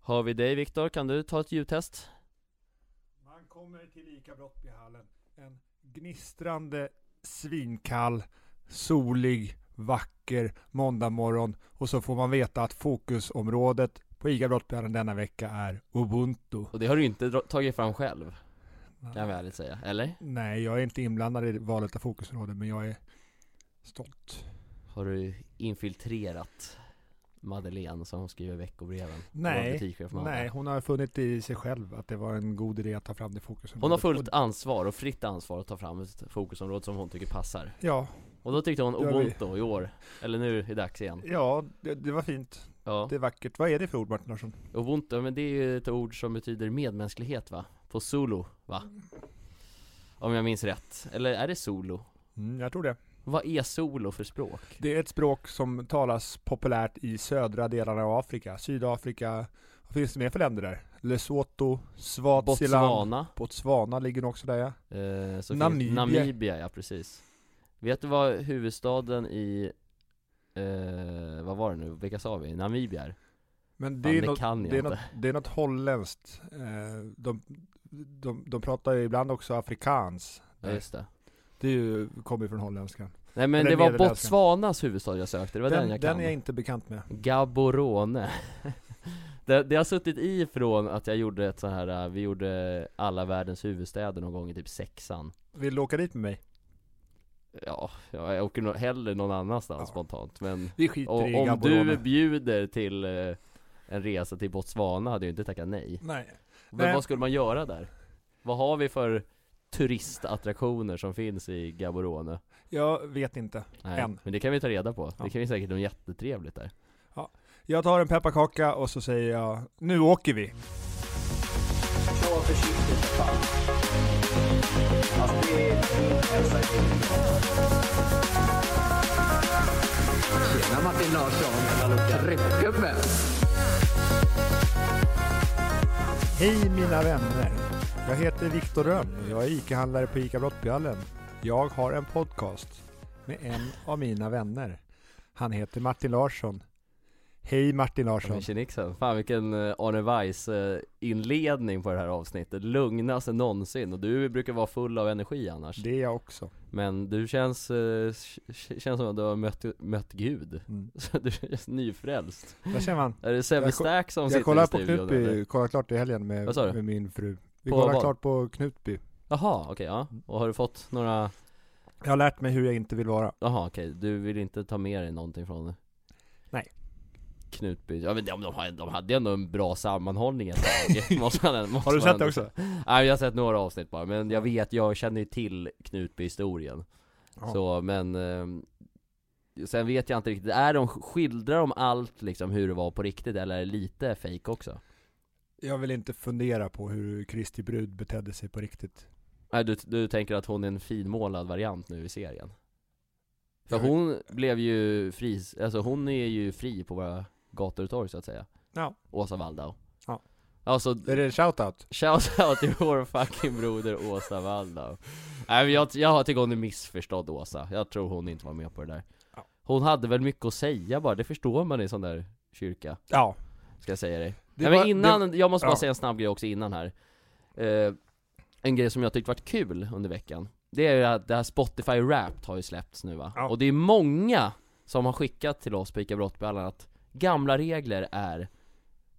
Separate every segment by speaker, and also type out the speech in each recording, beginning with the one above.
Speaker 1: Har vi dig Viktor, kan du ta ett ljudtest?
Speaker 2: Man kommer till lika brott vid hallen. En gnistrande, svinkall, solig, vacker måndagmorgon och så får man veta att fokusområdet på ICA Brottbjörnen denna vecka är Ubuntu.
Speaker 1: Och det har du inte dra- tagit fram själv, kan jag väl ärligt säga, eller?
Speaker 2: Nej, jag är inte inblandad i valet av fokusområde, men jag är stolt.
Speaker 1: Har du infiltrerat Madeleine som skriver veckobreven?
Speaker 2: Nej,
Speaker 1: Vår butikschef Madde.
Speaker 2: Nej, hon har funnit i sig själv att det var en god idé att ta fram det fokusområdet.
Speaker 1: Hon har fullt
Speaker 2: Och-
Speaker 1: ansvar och fritt ansvar att ta fram ett fokusområde som hon tycker passar
Speaker 2: Ja,
Speaker 1: Och då tyckte hon
Speaker 2: Det har vi.
Speaker 1: Ubuntu i år, eller nu är det dags igen
Speaker 2: ja det, det var fint.
Speaker 1: Ja,
Speaker 2: Det är vackert. Vad är det för ord, Martin Larsson?
Speaker 1: Ubuntu, men det är ju ett ord som betyder medmänsklighet va? På solo, va? Om jag minns rätt, eller är det solo?
Speaker 2: Mm, jag tror det.
Speaker 1: Vad är solo för språk?
Speaker 2: Det är ett språk som talas populärt i södra delarna av Afrika. Sydafrika, vad finns det mer för länder där? Lesotho, Swaziland,
Speaker 1: Botswana,
Speaker 2: Botswana ligger nog också där ja.
Speaker 1: eh, så
Speaker 2: Namibia.
Speaker 1: Namibia. Namibia, ja precis Vet du vad huvudstaden i, eh, vad var det nu, vilka sa vi? Namibia är?
Speaker 2: Men
Speaker 1: Fan,
Speaker 2: det är,
Speaker 1: det
Speaker 2: något,
Speaker 1: kan jag
Speaker 2: det är,
Speaker 1: inte.
Speaker 2: något, det är något holländskt. Eh, De, de, de pratar ju ibland också afrikans.
Speaker 1: Ja just det
Speaker 2: Det är ju, kommer ju från holländskan.
Speaker 1: Nej men
Speaker 2: Eller
Speaker 1: det var
Speaker 2: Nederländskan.
Speaker 1: Botswanas huvudstad jag sökte, det var den, jag kan
Speaker 2: den är jag inte bekant med.
Speaker 1: Gaborone det, det har suttit i ifrån att jag gjorde ett så här, äh, vi gjorde alla världens huvudstäder någon gång i typ sexan
Speaker 2: Vill du åka dit med mig?
Speaker 1: Ja, ja, jag åker nog hellre någon annanstans
Speaker 2: Ja.
Speaker 1: spontant men
Speaker 2: Vi skiter
Speaker 1: och,
Speaker 2: i
Speaker 1: Om du
Speaker 2: Gaborone.
Speaker 1: bjuder till eh, en resa till Botswana hade jag inte tackat nej
Speaker 2: Nej.
Speaker 1: Men
Speaker 2: Nej.
Speaker 1: vad skulle man göra där? Vad har vi för turistattraktioner som finns i Gaborone?
Speaker 2: Jag vet inte.
Speaker 1: Nej,
Speaker 2: Än.
Speaker 1: men det kan vi ta reda på,
Speaker 2: Ja.
Speaker 1: det kan vi säkert göra jättetrevligt där
Speaker 2: Jag tar en pepparkaka och så säger jag, nu åker vi.
Speaker 3: Tjena Martin Larsson, tryckgubbe!
Speaker 2: Hej mina vänner! Jag heter Viktor Rönn och jag är ICA-handlare på ICA Brottbjallen. Jag har en podcast med en av mina vänner. Han heter Martin Larsson. Hej Martin Larsson!
Speaker 1: Kinixen, fan vilken eh, Arne Weiss eh, inledning på det här avsnittet, lugnast än någonsin och du brukar vara full av energi annars
Speaker 2: Det är jag också.
Speaker 1: Men du känns, eh, k- känns som att du har mött, mött Gud,
Speaker 2: Mm.
Speaker 1: så du känns nyfrälst
Speaker 2: Där ser man.
Speaker 1: Är det Sebbe
Speaker 2: Jag ko-
Speaker 1: Stack som
Speaker 2: Jag
Speaker 1: sitter i
Speaker 2: kollar på
Speaker 1: studion eller?
Speaker 2: Knutby, kollar klart i helgen med,
Speaker 1: Vad sa du?
Speaker 2: med min fru. Vi
Speaker 1: På
Speaker 2: kollar
Speaker 1: vad?
Speaker 2: klart på Knutby.
Speaker 1: Jaha, okej ja, och har du fått några,
Speaker 2: Jag har lärt mig hur jag inte vill vara.
Speaker 1: jaha okej, du vill inte ta med dig någonting från
Speaker 2: Nej.
Speaker 1: Knutby, ja men de, de, hade- de hade ju ändå en bra sammanhållning ett tag, måste man, måste
Speaker 2: Har du
Speaker 1: man
Speaker 2: sett
Speaker 1: ändå
Speaker 2: det också?
Speaker 1: Nej jag har sett några avsnitt bara, men jag vet, jag känner ju till Knutby-historien
Speaker 2: Ja.
Speaker 1: Så, men ehm, Sen vet jag inte riktigt, är de, skildrar de allt liksom hur det var på riktigt eller är det lite fake också?
Speaker 2: Jag vill inte fundera på hur Kristi brud betedde sig på riktigt.
Speaker 1: Nej du, du tänker att hon är en finmålad variant nu i serien? För
Speaker 2: Jag vet-
Speaker 1: hon blev ju fri, alltså hon är ju fri på våra gator och torg så att säga
Speaker 2: Ja.
Speaker 1: Åsa Waldau
Speaker 2: Ja.
Speaker 1: Alltså,
Speaker 2: Är det en shoutout?
Speaker 1: Shout out till vår fucking broder Åsa Waldau Nej men jag, jag tycker hon är missförstådd Åsa, jag tror hon inte var med på det där
Speaker 2: Ja.
Speaker 1: Hon hade väl mycket att säga bara, det förstår man i sån där kyrka,
Speaker 2: Ja.
Speaker 1: ska jag säga dig
Speaker 2: Det
Speaker 1: Nej
Speaker 2: var-
Speaker 1: men innan, jag måste bara
Speaker 2: ja.
Speaker 1: säga en snabb grej också innan här eh, En grej som jag tyckte varit kul under veckan Det är ju att det här Spotify Wrapped har ju släppts nu va?
Speaker 2: Ja.
Speaker 1: Och det är många som har skickat till oss på ICA Brottballan att Gamla regler är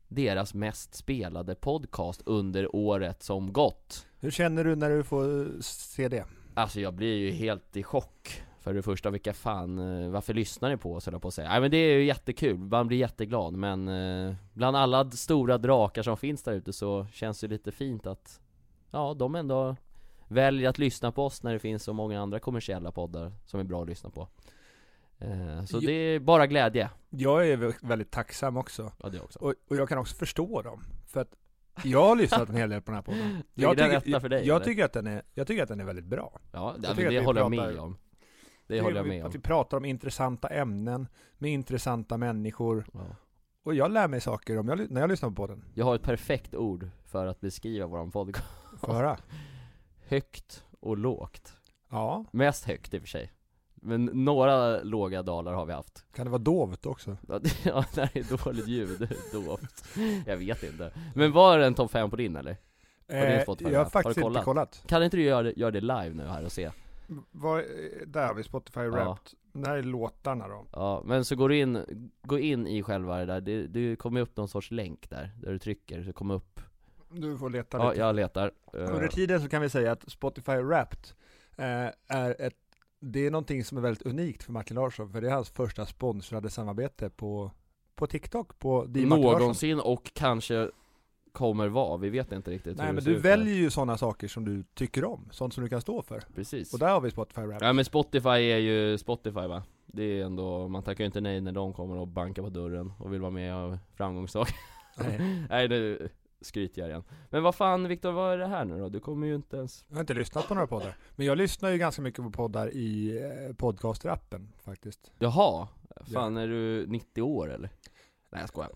Speaker 1: deras mest spelade podcast under året som gått
Speaker 2: Hur känner du när du får eh, se det?
Speaker 1: Alltså jag blir ju helt i chock För det första, vilka fan, eh, varför lyssnar ni på oss höll jag på att säga? Nej men det är ju jättekul, man blir jätteglad men eh, Bland alla d- stora drakar som finns där ute så känns det lite fint att Ja, de ändå väljer att lyssna på oss när det finns så många andra kommersiella poddar som är bra att lyssna på Eh, Så
Speaker 2: Jo.
Speaker 1: det är bara glädje
Speaker 2: Jag är vä- väldigt tacksam också.
Speaker 1: Ja det också
Speaker 2: Och, och jag kan också förstå dem. För att jag har lyssnat en hel del på den här podden.
Speaker 1: Ligger
Speaker 2: Jag
Speaker 1: den
Speaker 2: tycker,
Speaker 1: etta för dig,
Speaker 2: jag,
Speaker 1: eller?
Speaker 2: tycker att den är, jag tycker att den är väldigt bra.
Speaker 1: Ja, det,
Speaker 2: tycker
Speaker 1: men
Speaker 2: att
Speaker 1: det
Speaker 2: vi
Speaker 1: håller jag
Speaker 2: pratar-
Speaker 1: med om Det håller jag
Speaker 2: vi-
Speaker 1: med
Speaker 2: Att vi
Speaker 1: om
Speaker 2: pratar om intressanta ämnen med intressanta människor.
Speaker 1: ja.
Speaker 2: Och jag lär mig saker om jag, ly- när jag lyssnar på podden.
Speaker 1: Jag har ett perfekt ord för att beskriva våran podcast
Speaker 2: Få höra.
Speaker 1: Högt och lågt
Speaker 2: Ja,
Speaker 1: Mest högt i och för sig Men några låga dalar har vi haft
Speaker 2: Kan det vara dovt också?
Speaker 1: Ja, det- Ja, det här är dåligt ljud, dovt Jag vet inte Men var det en topp 5 på din eller? din Spotify,
Speaker 2: Eh, jag har
Speaker 1: ja.
Speaker 2: faktiskt
Speaker 1: Har du
Speaker 2: inte kollat.
Speaker 1: Kan inte du göra det, göra det live nu här och se?
Speaker 2: Vad, där har vi Spotify Wrapped. Det här är låtarna då.
Speaker 1: Ja, men så går du in, gå in i själva det där, det, det kommer upp någon sorts länk där, där du trycker, så kommer upp
Speaker 2: Du får leta
Speaker 1: Ja,
Speaker 2: lite.
Speaker 1: jag letar
Speaker 2: Under
Speaker 1: Eh,
Speaker 2: tiden så kan vi säga att Spotify Wrapped eh, är ett det är någonting som är väldigt unikt för Martin Larsson, för det är hans första sponsrade samarbete på, på TikTok, på Di Martin Larsson.
Speaker 1: Någonsin och kanske kommer vara, vi vet inte riktigt
Speaker 2: Nej
Speaker 1: hur
Speaker 2: men
Speaker 1: det
Speaker 2: du
Speaker 1: ser ut där.
Speaker 2: väljer ju sådana saker som du tycker om, sånt som du kan stå för.
Speaker 1: Precis
Speaker 2: Och där har vi Spotify Wrapped.
Speaker 1: Ja men Spotify är ju Spotify va? Det är ändå, man tackar ju inte nej när de kommer och bankar på dörren och vill vara med av framgångssaga
Speaker 2: Nej,
Speaker 1: Nej nu skryter jag igen Men vad fan Viktor, vad är det här nu då? Du kommer ju inte ens
Speaker 2: jag har inte lyssnat på några poddar. Men jag lyssnar ju ganska mycket på poddar i eh, podcastrappen faktiskt.
Speaker 1: Jaha? Fan är du 90 år eller? Nej jag skojar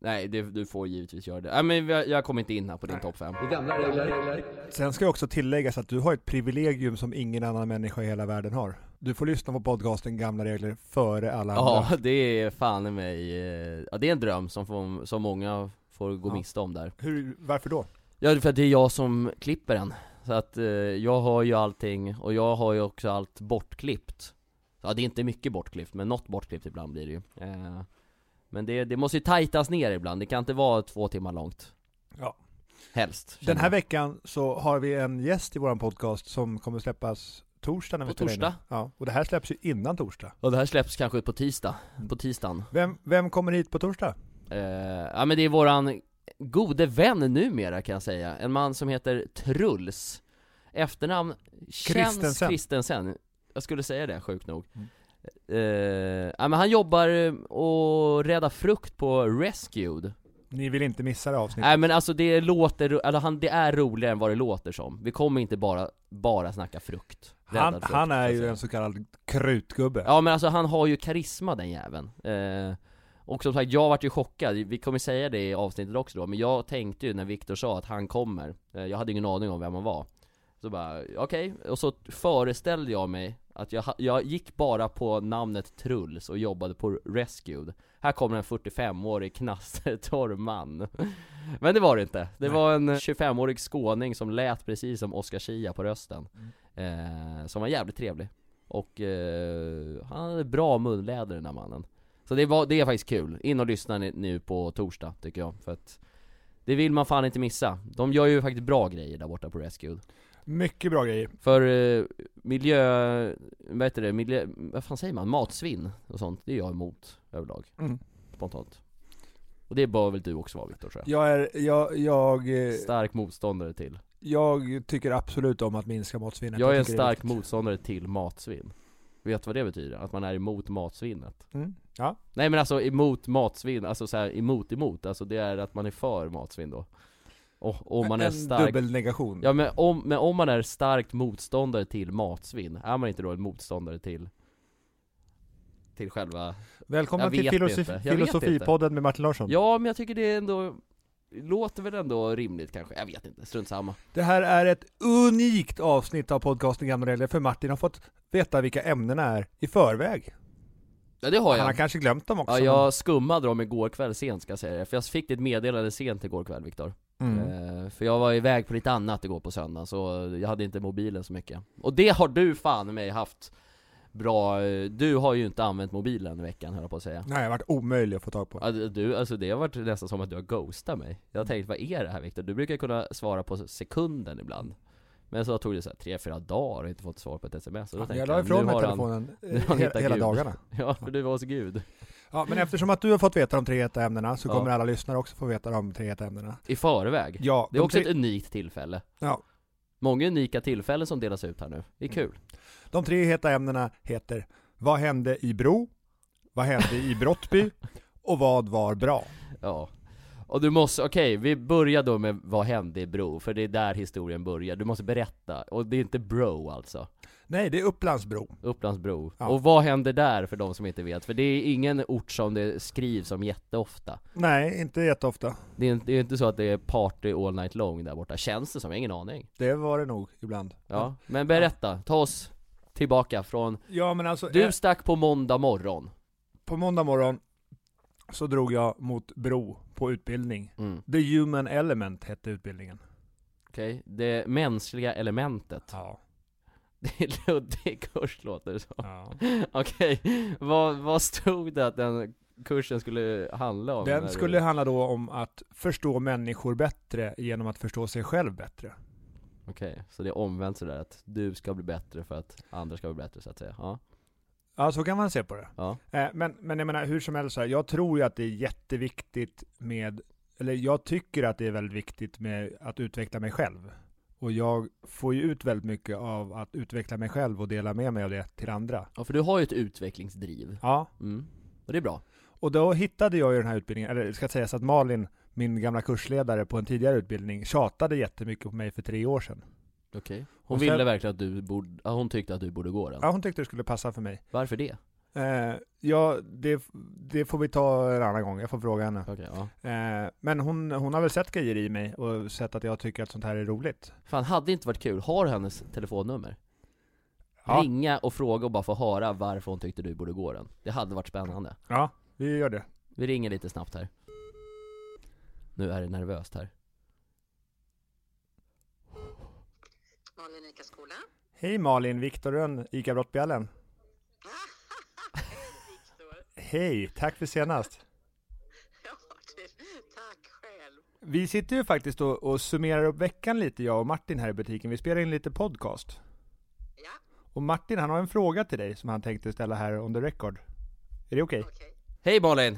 Speaker 1: Nej det, du får givetvis göra det, nej men jag, jag kommer inte in här på din
Speaker 2: Nej.
Speaker 1: topp 5
Speaker 3: Det är gamla regler.
Speaker 2: Sen ska jag också tilläggas att du har ett privilegium som ingen annan människa i hela världen har. Du får lyssna på podcasten Gamla Regler före alla
Speaker 1: Ja
Speaker 2: andra.
Speaker 1: det är fan i mig, eh, ja det är en dröm som, får, som många får gå
Speaker 2: Ja.
Speaker 1: miste om där
Speaker 2: Hur, varför då?
Speaker 1: Ja, det är för att det är jag som klipper den. Så att eh, jag har ju allting, och jag har ju också allt bortklippt. Ja, det är inte mycket bortklippt, men något bortklippt ibland blir det ju. Eh, men det, det måste ju tajtas ner ibland, det kan inte vara två timmar långt.
Speaker 2: Ja.
Speaker 1: Helst.
Speaker 2: Den
Speaker 1: känner
Speaker 2: här
Speaker 1: jag.
Speaker 2: veckan så har vi en gäst i vår podcast som kommer släppas torsdag när vi
Speaker 1: På
Speaker 2: spelar in
Speaker 1: torsdag?
Speaker 2: den. Ja, och det här släpps ju innan torsdag.
Speaker 1: Och det här släpps kanske på tisdag, på tisdagen.
Speaker 2: Vem, vem kommer hit på torsdag?
Speaker 1: Eh, ja men det är våran gode vän numera kan jag säga, en man som heter Truls Efternamn känns
Speaker 2: Christensen.
Speaker 1: Kristensen Jag skulle säga det, sjukt nog
Speaker 2: Mm.
Speaker 1: Eh, ja, men han jobbar eh, och räddar frukt på Rescued
Speaker 2: Ni vill inte missa det avsnittet.
Speaker 1: Nej men alltså det låter, ro- eller han, det är roligare än vad det låter som Vi kommer inte bara, bara snacka frukt
Speaker 2: Han,
Speaker 1: Räddad frukt, Alltså.
Speaker 2: han är
Speaker 1: så att
Speaker 2: ju
Speaker 1: säga.
Speaker 2: en så kallad krutgubbe.
Speaker 1: Ja men alltså han har ju karisma den jäveln eh, Och som sagt, jag vart ju chockad, vi kommer säga det i avsnittet också då Men jag tänkte ju när Viktor sa att han kommer eh, Jag hade ingen aning om vem han var Så bara, okej, och så föreställde jag mig att jag, ha- jag gick bara på namnet Truls och jobbade på Rescued Här kommer en 45-årig knastertorr man Men det var det inte, det
Speaker 2: Nej.
Speaker 1: var en 25-årig skåning som lät precis som Oscar Schia på rösten eh, Som var jävligt trevlig och eh, han hade bra munläder den här mannen Så det, var, det är faktiskt kul, in och lyssna ni- nu på torsdag tycker jag för att Det vill man fan inte missa, de gör ju faktiskt bra grejer där borta på Rescue
Speaker 2: Mycket bra grejer.
Speaker 1: För eh, miljö, vad heter det, miljö, vad fan säger man, matsvinn och sånt, det är jag emot överlag
Speaker 2: Mm.
Speaker 1: spontant Och det bör väl du också vara Viktor tror jag
Speaker 2: Jag, är, jag, jag, eh,
Speaker 1: Stark motståndare till,
Speaker 2: jag tycker absolut om att minska matsvinnet.
Speaker 1: jag är en
Speaker 2: tycker det
Speaker 1: stark
Speaker 2: viktigt.
Speaker 1: motståndare till matsvinn Vet du vad det betyder? Att man är emot matsvinnet
Speaker 2: Mm. Ja.
Speaker 1: Nej men alltså emot matsvinn, alltså så här emot emot, alltså det är att man är för matsvinn då Och om man är
Speaker 2: en
Speaker 1: stark
Speaker 2: dubbelnegation.
Speaker 1: Ja men om, men om man är starkt motståndare till matsvinn, är man inte då en motståndare till Till själva
Speaker 2: Välkomna
Speaker 1: Jag
Speaker 2: till
Speaker 1: vet
Speaker 2: filosof-
Speaker 1: inte. Jag vet
Speaker 2: filosofipodden med Martin Larsson.
Speaker 1: Ja men jag tycker det är ändå Låter väl ändå rimligt kanske, jag vet inte, strunt samma
Speaker 2: Det här är ett unikt avsnitt av podcasten Gamla Regler, för Martin har fått veta vilka ämnena är i förväg.
Speaker 1: Ja det har
Speaker 2: Han har
Speaker 1: jag
Speaker 2: kanske glömt dem också.
Speaker 1: Ja jag skummade dem igår kväll sent ska jag säga det, för jag fick ditt meddelande sent igår kväll Viktor
Speaker 2: men- Mm.
Speaker 1: Eh, För jag var iväg på lite annat igår på söndagen, så jag hade inte mobilen så mycket Och det har du fan i mig haft bra, eh, du har ju inte använt mobilen i veckan höll jag på att säga
Speaker 2: Nej, det har varit omöjligt att få tag på.
Speaker 1: Ja, det- Du, alltså det har varit nästan som att du har ghostat mig Jag har tänkt, vad är det här Viktor? Du brukar kunna svara på sekunden ibland Men så tog det så här tre, fyra dagar och inte fått svar på ett sms och då tänkte
Speaker 2: Jag la
Speaker 1: nu
Speaker 2: ifrån mig
Speaker 1: har han-
Speaker 2: telefonen
Speaker 1: nu har han
Speaker 2: hela,
Speaker 1: hittat
Speaker 2: hela
Speaker 1: Gud.
Speaker 2: dagarna.
Speaker 1: Ja, för du var hos gud
Speaker 2: Ja, men eftersom att du har fått veta de tre heta ämnena så
Speaker 1: Ja.
Speaker 2: kommer alla lyssnare också få veta de tre heta ämnena.
Speaker 1: I förväg
Speaker 2: Ja,
Speaker 1: Det är
Speaker 2: de
Speaker 1: också
Speaker 2: tre-
Speaker 1: ett unikt tillfälle
Speaker 2: Ja. Mm.
Speaker 1: Många unika tillfällen som delas ut här nu, det är kul
Speaker 2: De tre heta ämnena heter Vad hände i Bro? Vad hände i Brottby? Och vad var bra?
Speaker 1: Ja Och du måste, okej vi börjar då med vad hände i Bro, för det är där historien börjar, du måste berätta, och det är inte Bro alltså
Speaker 2: Nej, det är Upplandsbro.
Speaker 1: Upplandsbro,
Speaker 2: Ja.
Speaker 1: och vad hände där för de som inte vet? För det är ingen ort som det skrivs om jätteofta
Speaker 2: Nej, inte jätteofta.
Speaker 1: Det är inte, det är inte så att det är party all night long där borta, känns det som, jag har ingen aning
Speaker 2: Det var det nog ibland.
Speaker 1: Ja, men berätta, ta oss tillbaka från
Speaker 2: Ja men alltså, eh,
Speaker 1: Du stack på måndag morgon
Speaker 2: på måndag morgon så drog jag mot Bro på utbildning.
Speaker 1: mm.
Speaker 2: The Human Element hette utbildningen.
Speaker 1: Okej, det mänskliga elementet
Speaker 2: Ja.
Speaker 1: Det är luddig kurs låter det som
Speaker 2: ja.
Speaker 1: Okej, vad, vad stod det att den kursen skulle handla om? när
Speaker 2: Den
Speaker 1: du-
Speaker 2: skulle handla då om att förstå människor bättre genom att förstå sig själv bättre.
Speaker 1: Okej, så det är omvänt sådär att du ska bli bättre för att andra ska bli bättre så att säga? Ja,
Speaker 2: Ja, så kan man se på det.
Speaker 1: ja,
Speaker 2: Eh, Men, men jag menar, hur som helst, så här, jag tror ju att det är jätteviktigt med, eller jag tycker att det är väldigt viktigt med att utveckla mig själv. Och jag får ju ut väldigt mycket av att utveckla mig själv och dela med mig av det till andra.
Speaker 1: ja för du har ju ett utvecklingsdriv,
Speaker 2: Ja,
Speaker 1: mm. och det är bra
Speaker 2: och då hittade jag ju den här utbildningen, eller det ska sägas att Malin, min gamla kursledare på en tidigare utbildning, tjatade jättemycket på mig för tre år sedan.
Speaker 1: Okej Hon
Speaker 2: Och sen-
Speaker 1: ville verkligen att du borde, ja, hon tyckte att du borde gå den
Speaker 2: Ja, hon tyckte det skulle passa för mig.
Speaker 1: Varför det?
Speaker 2: Eh, ja, det, det får vi ta en annan gång, jag får fråga henne.
Speaker 1: Okej, ja
Speaker 2: Eh, men hon, hon har väl sett grejer i mig och sett att jag tycker att sånt här är roligt.
Speaker 1: Fan, hade det inte varit kul? Har hennes telefonnummer?
Speaker 2: Ja,
Speaker 1: Ringa och fråga och bara få höra varför hon tyckte du borde gå den Det hade varit spännande
Speaker 2: ja vi gör det.
Speaker 1: Vi ringer lite snabbt här Nu är det nervöst här
Speaker 4: Malin Ica-skola.
Speaker 2: Hej Malin, Viktor Rönn, ICA Brottbjällen.
Speaker 4: Viktor.
Speaker 2: Hej, tack för senast.
Speaker 4: Ja, du. Tack själv.
Speaker 2: Vi sitter ju faktiskt och, och summerar upp veckan lite, jag och Martin här i butiken. Vi spelar in lite podcast.
Speaker 4: Ja,
Speaker 2: Och Martin, han har en fråga till dig som han tänkte ställa här on the record. Är det okej?
Speaker 4: okej.
Speaker 1: Hej Malin!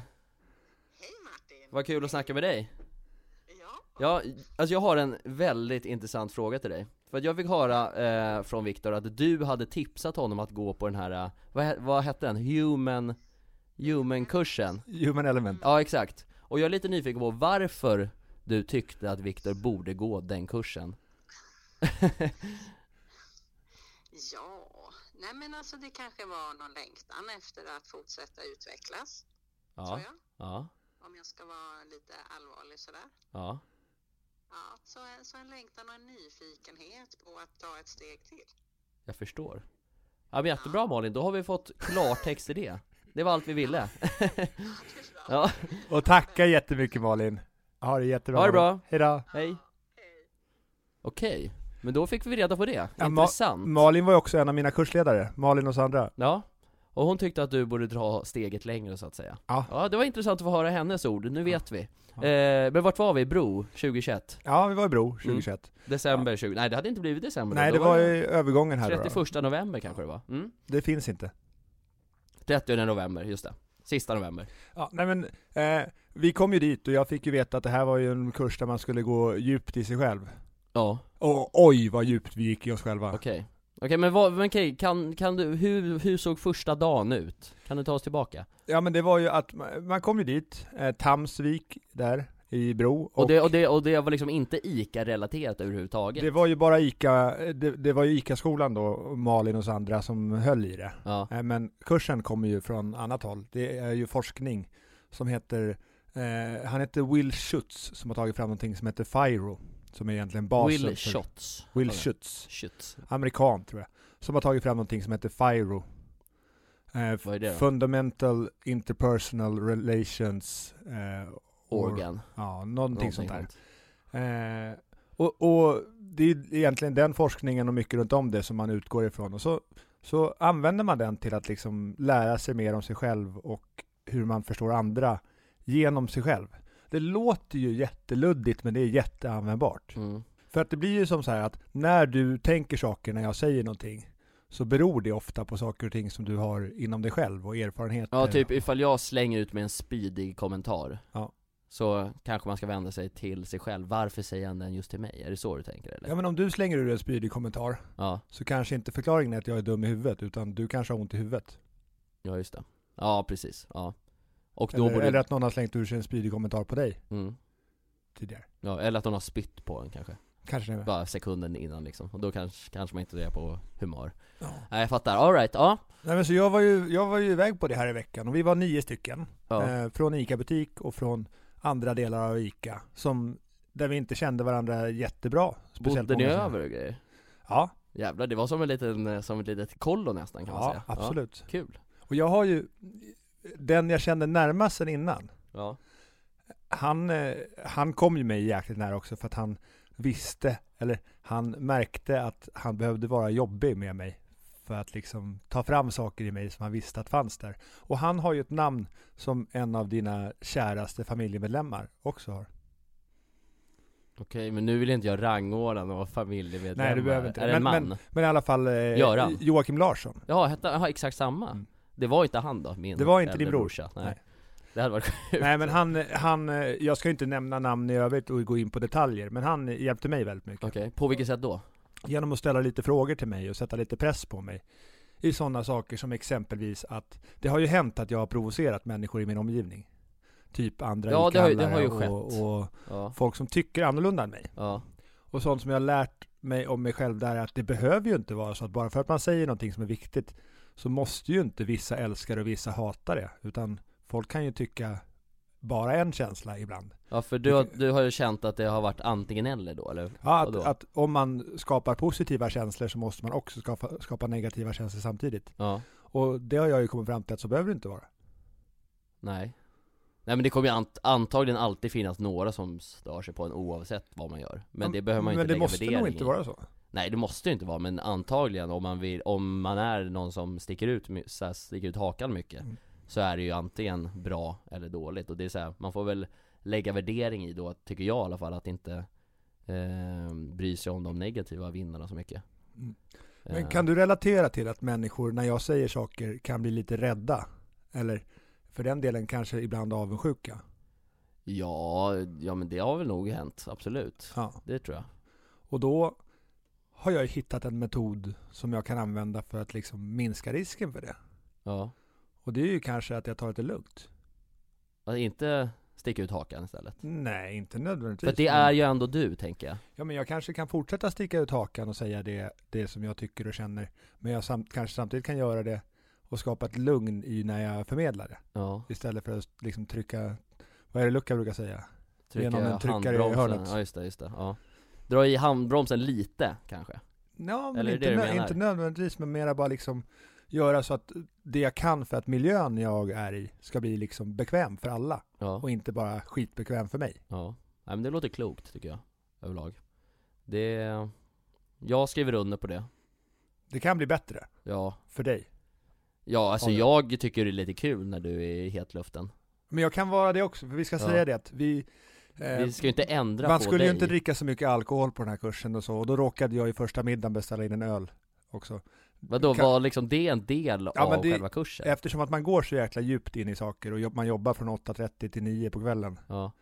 Speaker 4: Hej Martin.
Speaker 1: Vad kul att snacka med dig!
Speaker 4: Ja,
Speaker 1: Ja, alltså jag har en väldigt intressant fråga till dig. För att jag fick höra eh, från Viktor att du hade tipsat honom att gå på den här, eh, vad, he- vad hette den? Human, human-kursen?
Speaker 2: Human element.
Speaker 1: Ja, exakt. Och jag är lite nyfiken på varför du tyckte att Viktor borde gå den kursen.
Speaker 4: ja. Nej men alltså det kanske var någon längtan efter att fortsätta utvecklas,
Speaker 1: Ja,
Speaker 4: tror jag.
Speaker 1: ja,
Speaker 4: Om jag ska vara lite allvarlig sådär.
Speaker 1: ja.
Speaker 4: Ja, så, så en längtan och en nyfikenhet på att ta ett steg till.
Speaker 1: Jag förstår. Ja men jättebra Malin, då har vi fått klartext i det. Det var allt vi ville.
Speaker 4: Det är bra.
Speaker 1: Ja,
Speaker 2: Och tacka jättemycket Malin. Ha det jättebra.
Speaker 1: Ha det bra.
Speaker 2: Hejdå.
Speaker 1: hej.
Speaker 4: Hej.
Speaker 1: Okej, men då fick vi reda på det.
Speaker 2: Ja, Ma-
Speaker 1: Intressant.
Speaker 2: Malin var ju också en av mina kursledare, Malin och Sandra.
Speaker 1: Ja, och hon tyckte att du borde dra steget längre så att säga
Speaker 2: Ja.
Speaker 1: Ja, det var intressant att få höra hennes ord, nu vet vi eh, Men vart var vi? Bro 2021?
Speaker 2: Ja, vi var i Bro 2021.
Speaker 1: December 20, nej det hade inte blivit december då.
Speaker 2: Nej,
Speaker 1: Mm. Då
Speaker 2: det var ju övergången här då.
Speaker 1: 31 november kanske det var? Mm.
Speaker 2: Det finns inte.
Speaker 1: 30 november, just det Sista november
Speaker 2: Ja, nej men, eh, vi kom ju dit och jag fick ju veta att det här var ju en kurs där man skulle gå djupt i sig själv.
Speaker 1: Ja,
Speaker 2: Och oj vad djupt vi gick i oss själva.
Speaker 1: okej Okej men, vad, men okej, kan, kan du, hur, hur såg första dagen ut? Kan du ta oss tillbaka?
Speaker 2: Ja men det var ju att, man, man kom ju dit, eh, Tamsvik där i Bro.
Speaker 1: Och, det, och, det, och det var liksom inte ICA-relaterat överhuvudtaget?
Speaker 2: det var ju bara ICA, det, det var ju ICA-skolan då, Malin och Sandra som höll i det.
Speaker 1: Ja,
Speaker 2: Eh, Men kursen kommer ju från annat håll. Det är ju forskning som heter, eh, han heter Will Schutz som har tagit fram någonting som heter FIRO. Som är egentligen basen
Speaker 1: Will
Speaker 2: för-
Speaker 1: Shots
Speaker 2: Will
Speaker 1: Okej.
Speaker 2: Schutz,
Speaker 1: Shit,
Speaker 2: amerikan tror jag. Som har tagit fram någonting som heter FIRO. Eh,
Speaker 1: Vad är det då?
Speaker 2: Fundamental Interpersonal Relations eh, or-
Speaker 1: organ
Speaker 2: Ja, någonting sånt där.
Speaker 1: sånt.
Speaker 2: Eh, och, och det är ju egentligen den forskningen och mycket runt om det som man utgår ifrån. Och så, så använder man den till att liksom lära sig mer om sig själv och hur man förstår andra genom sig själv. Det låter ju jätteluddigt men det är jätteanvändbart.
Speaker 1: Mm.
Speaker 2: För att det blir ju som så här att när du tänker saker när jag säger någonting så beror det ofta på saker och ting som du har inom dig själv och erfarenheter.
Speaker 1: Ja, typ ifall jag slänger ut med en spydig kommentar
Speaker 2: Eh. Ja.
Speaker 1: Så kanske man ska vända sig till sig själv, varför säger han den just till mig? Är det så du tänker eller?
Speaker 2: Ja men om du slänger ur en spydig kommentar
Speaker 1: Ja,
Speaker 2: så kanske inte förklaringen är att jag är dum i huvudet utan du kanske har ont i huvudet.
Speaker 1: ja just det Ja precis, ja Och då
Speaker 2: Eller,
Speaker 1: borde,
Speaker 2: eller att någon har slängt ur sig en spydig kommentar på dig
Speaker 1: mm,
Speaker 2: tidigare.
Speaker 1: ja, eller att de har spytt på en kanske,
Speaker 2: Kanske det.
Speaker 1: bara sekunden innan liksom, och då kanske, kanske man inte är på humör
Speaker 2: Ja.
Speaker 1: Nej jag fattar, alright, ja,
Speaker 2: Nej men så jag var, ju, jag var ju iväg på det här i veckan och vi var nio stycken.
Speaker 1: ja.
Speaker 2: Eh, från ICA-butik och från andra delar av ICA. Som, där vi inte kände varandra jättebra.
Speaker 1: Bodde ni
Speaker 2: många som-
Speaker 1: över och grejer?
Speaker 2: Ja,
Speaker 1: Jävlar, det var som en liten, eh, som ett litet kollo nästan kan man
Speaker 2: Ja,
Speaker 1: säga
Speaker 2: absolut.
Speaker 1: ja, Kul
Speaker 2: Och jag har ju den jag kände närmast sen innan.
Speaker 1: Ja,
Speaker 2: han, eh, han kom ju mig jäkligt nära också för att han visste, eller han märkte att han behövde vara jobbig med mig för att liksom ta fram saker i mig som han visste att fanns där. Och han har ju ett namn som en av dina käraste familjemedlemmar också har.
Speaker 1: okej men nu vill inte jag rangordna några familjemedlemmar
Speaker 2: Nej, du behöver inte.
Speaker 1: Är det en
Speaker 2: Men-
Speaker 1: man?
Speaker 2: Men i alla fall eh,
Speaker 1: Göran.
Speaker 2: Joakim Larsson.
Speaker 1: Ja, hette han, aha, exakt samma
Speaker 2: Mm.
Speaker 1: Det var inte han då, min
Speaker 2: Det var inte din
Speaker 1: äldre
Speaker 2: bror.
Speaker 1: brorsa. Nej.
Speaker 2: Nej.
Speaker 1: Det hade varit sjukt
Speaker 2: Nej men han, han, eh, jag ska ju inte nämna namn i övrigt och gå in på detaljer, men han hjälpte mig väldigt mycket.
Speaker 1: Okej, på vilket sätt då?
Speaker 2: genom att ställa lite frågor till mig och sätta lite press på mig. I sådana saker som exempelvis att det har ju hänt att jag har provocerat människor i min omgivning. Typ andra
Speaker 1: Ja, det har ju- det har ju
Speaker 2: ICA-handlare
Speaker 1: skett.
Speaker 2: och, och
Speaker 1: Ja,
Speaker 2: folk som tycker annorlunda än mig.
Speaker 1: ja,
Speaker 2: Och sånt som jag har lärt mig om mig själv där är att det behöver ju inte vara så att bara för att man säger någonting som är viktigt så måste ju inte vissa älska det och vissa hata det. Utan folk kan ju tycka bara en känsla ibland.
Speaker 1: ja för du, har- du har ju känt att det har varit antingen eller då eller?
Speaker 2: Ja, att,
Speaker 1: Vadå?
Speaker 2: att om man skapar positiva känslor så måste man också skapa, skapa negativa känslor samtidigt.
Speaker 1: Ja,
Speaker 2: Och det har jag ju kommit fram till att så behöver det inte vara.
Speaker 1: nej Nej men det kommer ju ant- antagligen alltid finnas några som stör sig på en oavsett vad man gör Men det behöver man ju
Speaker 2: Men
Speaker 1: inte
Speaker 2: det
Speaker 1: lägga
Speaker 2: måste
Speaker 1: värdering
Speaker 2: nog inte
Speaker 1: i.
Speaker 2: vara så.
Speaker 1: Nej det måste ju inte vara, men antagligen om man vill, om man är någon som sticker ut, my- så här, sticker ut hakan mycket
Speaker 2: Mm.
Speaker 1: Så är det ju antingen bra eller dåligt och det är så här, man får väl lägga värdering i då, tycker jag i alla fall, att inte eh, bry sig om de negativa vinnarna så mycket
Speaker 2: Mm.
Speaker 1: Eh,
Speaker 2: Men kan du relatera till att människor, när jag säger saker, kan bli lite rädda? Eller för den delen kanske ibland avundsjuka?
Speaker 1: Ja, ja men det har väl nog hänt, absolut
Speaker 2: Ja.
Speaker 1: Det tror jag
Speaker 2: Och då har jag ju hittat en metod som jag kan använda för att liksom minska risken för det.
Speaker 1: Ja,
Speaker 2: Och det är ju kanske att jag tar lite lugnt.
Speaker 1: att inte sticka ut hakan istället
Speaker 2: Nej, inte
Speaker 1: För
Speaker 2: nödvändigtvis.
Speaker 1: att det
Speaker 2: men-
Speaker 1: är ju ändå du, tänker jag
Speaker 2: Ja, men jag kanske kan fortsätta sticka ut hakan och säga det, det som jag tycker och känner. Men jag samt, kanske samtidigt kan göra det och skapa ett lugn i när jag förmedlar det.
Speaker 1: Ja,
Speaker 2: Istället för att liksom trycka, vad är det Luca brukar säga? Genom en tryckare i
Speaker 1: handbromsen.
Speaker 2: hörnet.
Speaker 1: Ja just det, just det. Ja. Dra i handbromsen lite kanske.
Speaker 2: Ja, men
Speaker 1: Eller är det
Speaker 2: inte,
Speaker 1: det du
Speaker 2: nö-
Speaker 1: menar?
Speaker 2: inte nödvändigtvis, men mera bara liksom göra så att det jag kan för att miljön jag är i ska bli liksom bekväm för alla
Speaker 1: Ja,
Speaker 2: och inte bara skitbekväm för mig.
Speaker 1: ja. Nej, men det låter klokt tycker jag, överlag. Det, jag skriver under på det.
Speaker 2: Det kan bli bättre
Speaker 1: Ja,
Speaker 2: för dig.
Speaker 1: ja alltså
Speaker 2: Ja, det-
Speaker 1: jag tycker det är lite kul när du är i hetluften.
Speaker 2: Men jag kan vara det också, för vi ska
Speaker 1: Ja.
Speaker 2: säga det att vi... eh,
Speaker 1: Vi ska ju inte ändra
Speaker 2: Man
Speaker 1: på
Speaker 2: skulle
Speaker 1: dig.
Speaker 2: ju inte dricka så mycket alkohol på den här kursen och så, och då råkade jag i första middagen beställa in en öl också.
Speaker 1: Vadå,
Speaker 2: kan-
Speaker 1: var liksom det en del
Speaker 2: Ja, men
Speaker 1: av
Speaker 2: det-
Speaker 1: själva kursen?
Speaker 2: Eftersom att man går så jäkla djupt in i saker och jobb- man jobbar från 8.30 till 9 på kvällen,
Speaker 1: Ja,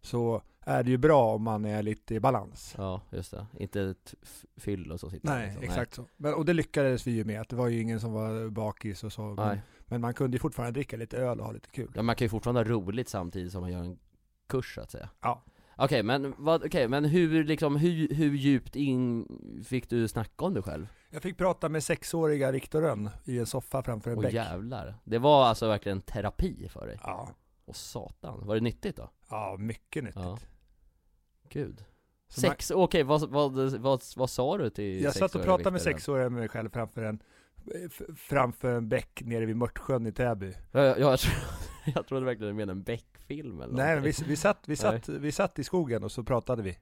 Speaker 2: så är det ju bra om man är lite i balans.
Speaker 1: ja, just det. Inte ett f- fyll och så sitter man
Speaker 2: Nej,
Speaker 1: liksom.
Speaker 2: exakt så. Men, och det lyckades vi ju med, att det var ju ingen som var bakis och så.
Speaker 1: Nej.
Speaker 2: Men, men man kunde ju fortfarande dricka lite öl och ha lite kul.
Speaker 1: Ja, man kan ju fortfarande ha roligt samtidigt som man gör en kurs så att säga
Speaker 2: Ja.
Speaker 1: Okej men vad, okej men hur liksom, hur, hur djupt in fick du snacka om dig själv?
Speaker 2: Jag fick prata med sexåriga Riktorön i en soffa framför en
Speaker 1: Åh
Speaker 2: bäck.
Speaker 1: jävlar, det var alltså verkligen terapi för dig?
Speaker 2: Ja,
Speaker 1: Åh satan, var det nyttigt då?
Speaker 2: ja, mycket nyttigt.
Speaker 1: Ja. Gud
Speaker 2: Så man-
Speaker 1: Sex, okej vad, vad, vad, vad sa du till
Speaker 2: Jag satt och
Speaker 1: sexåriga
Speaker 2: pratade med
Speaker 1: Viktor?
Speaker 2: sexåringar med mig själv framför en, f- framför en bäck nere vid Mörtsjön i Täby.
Speaker 1: Ja, ja, jag, tro- jag trodde verkligen du menade en Beck-film eller
Speaker 2: Nej, men vi,
Speaker 1: någonting.
Speaker 2: vi, satt, vi, satt, vi satt i skogen och så pratade vi.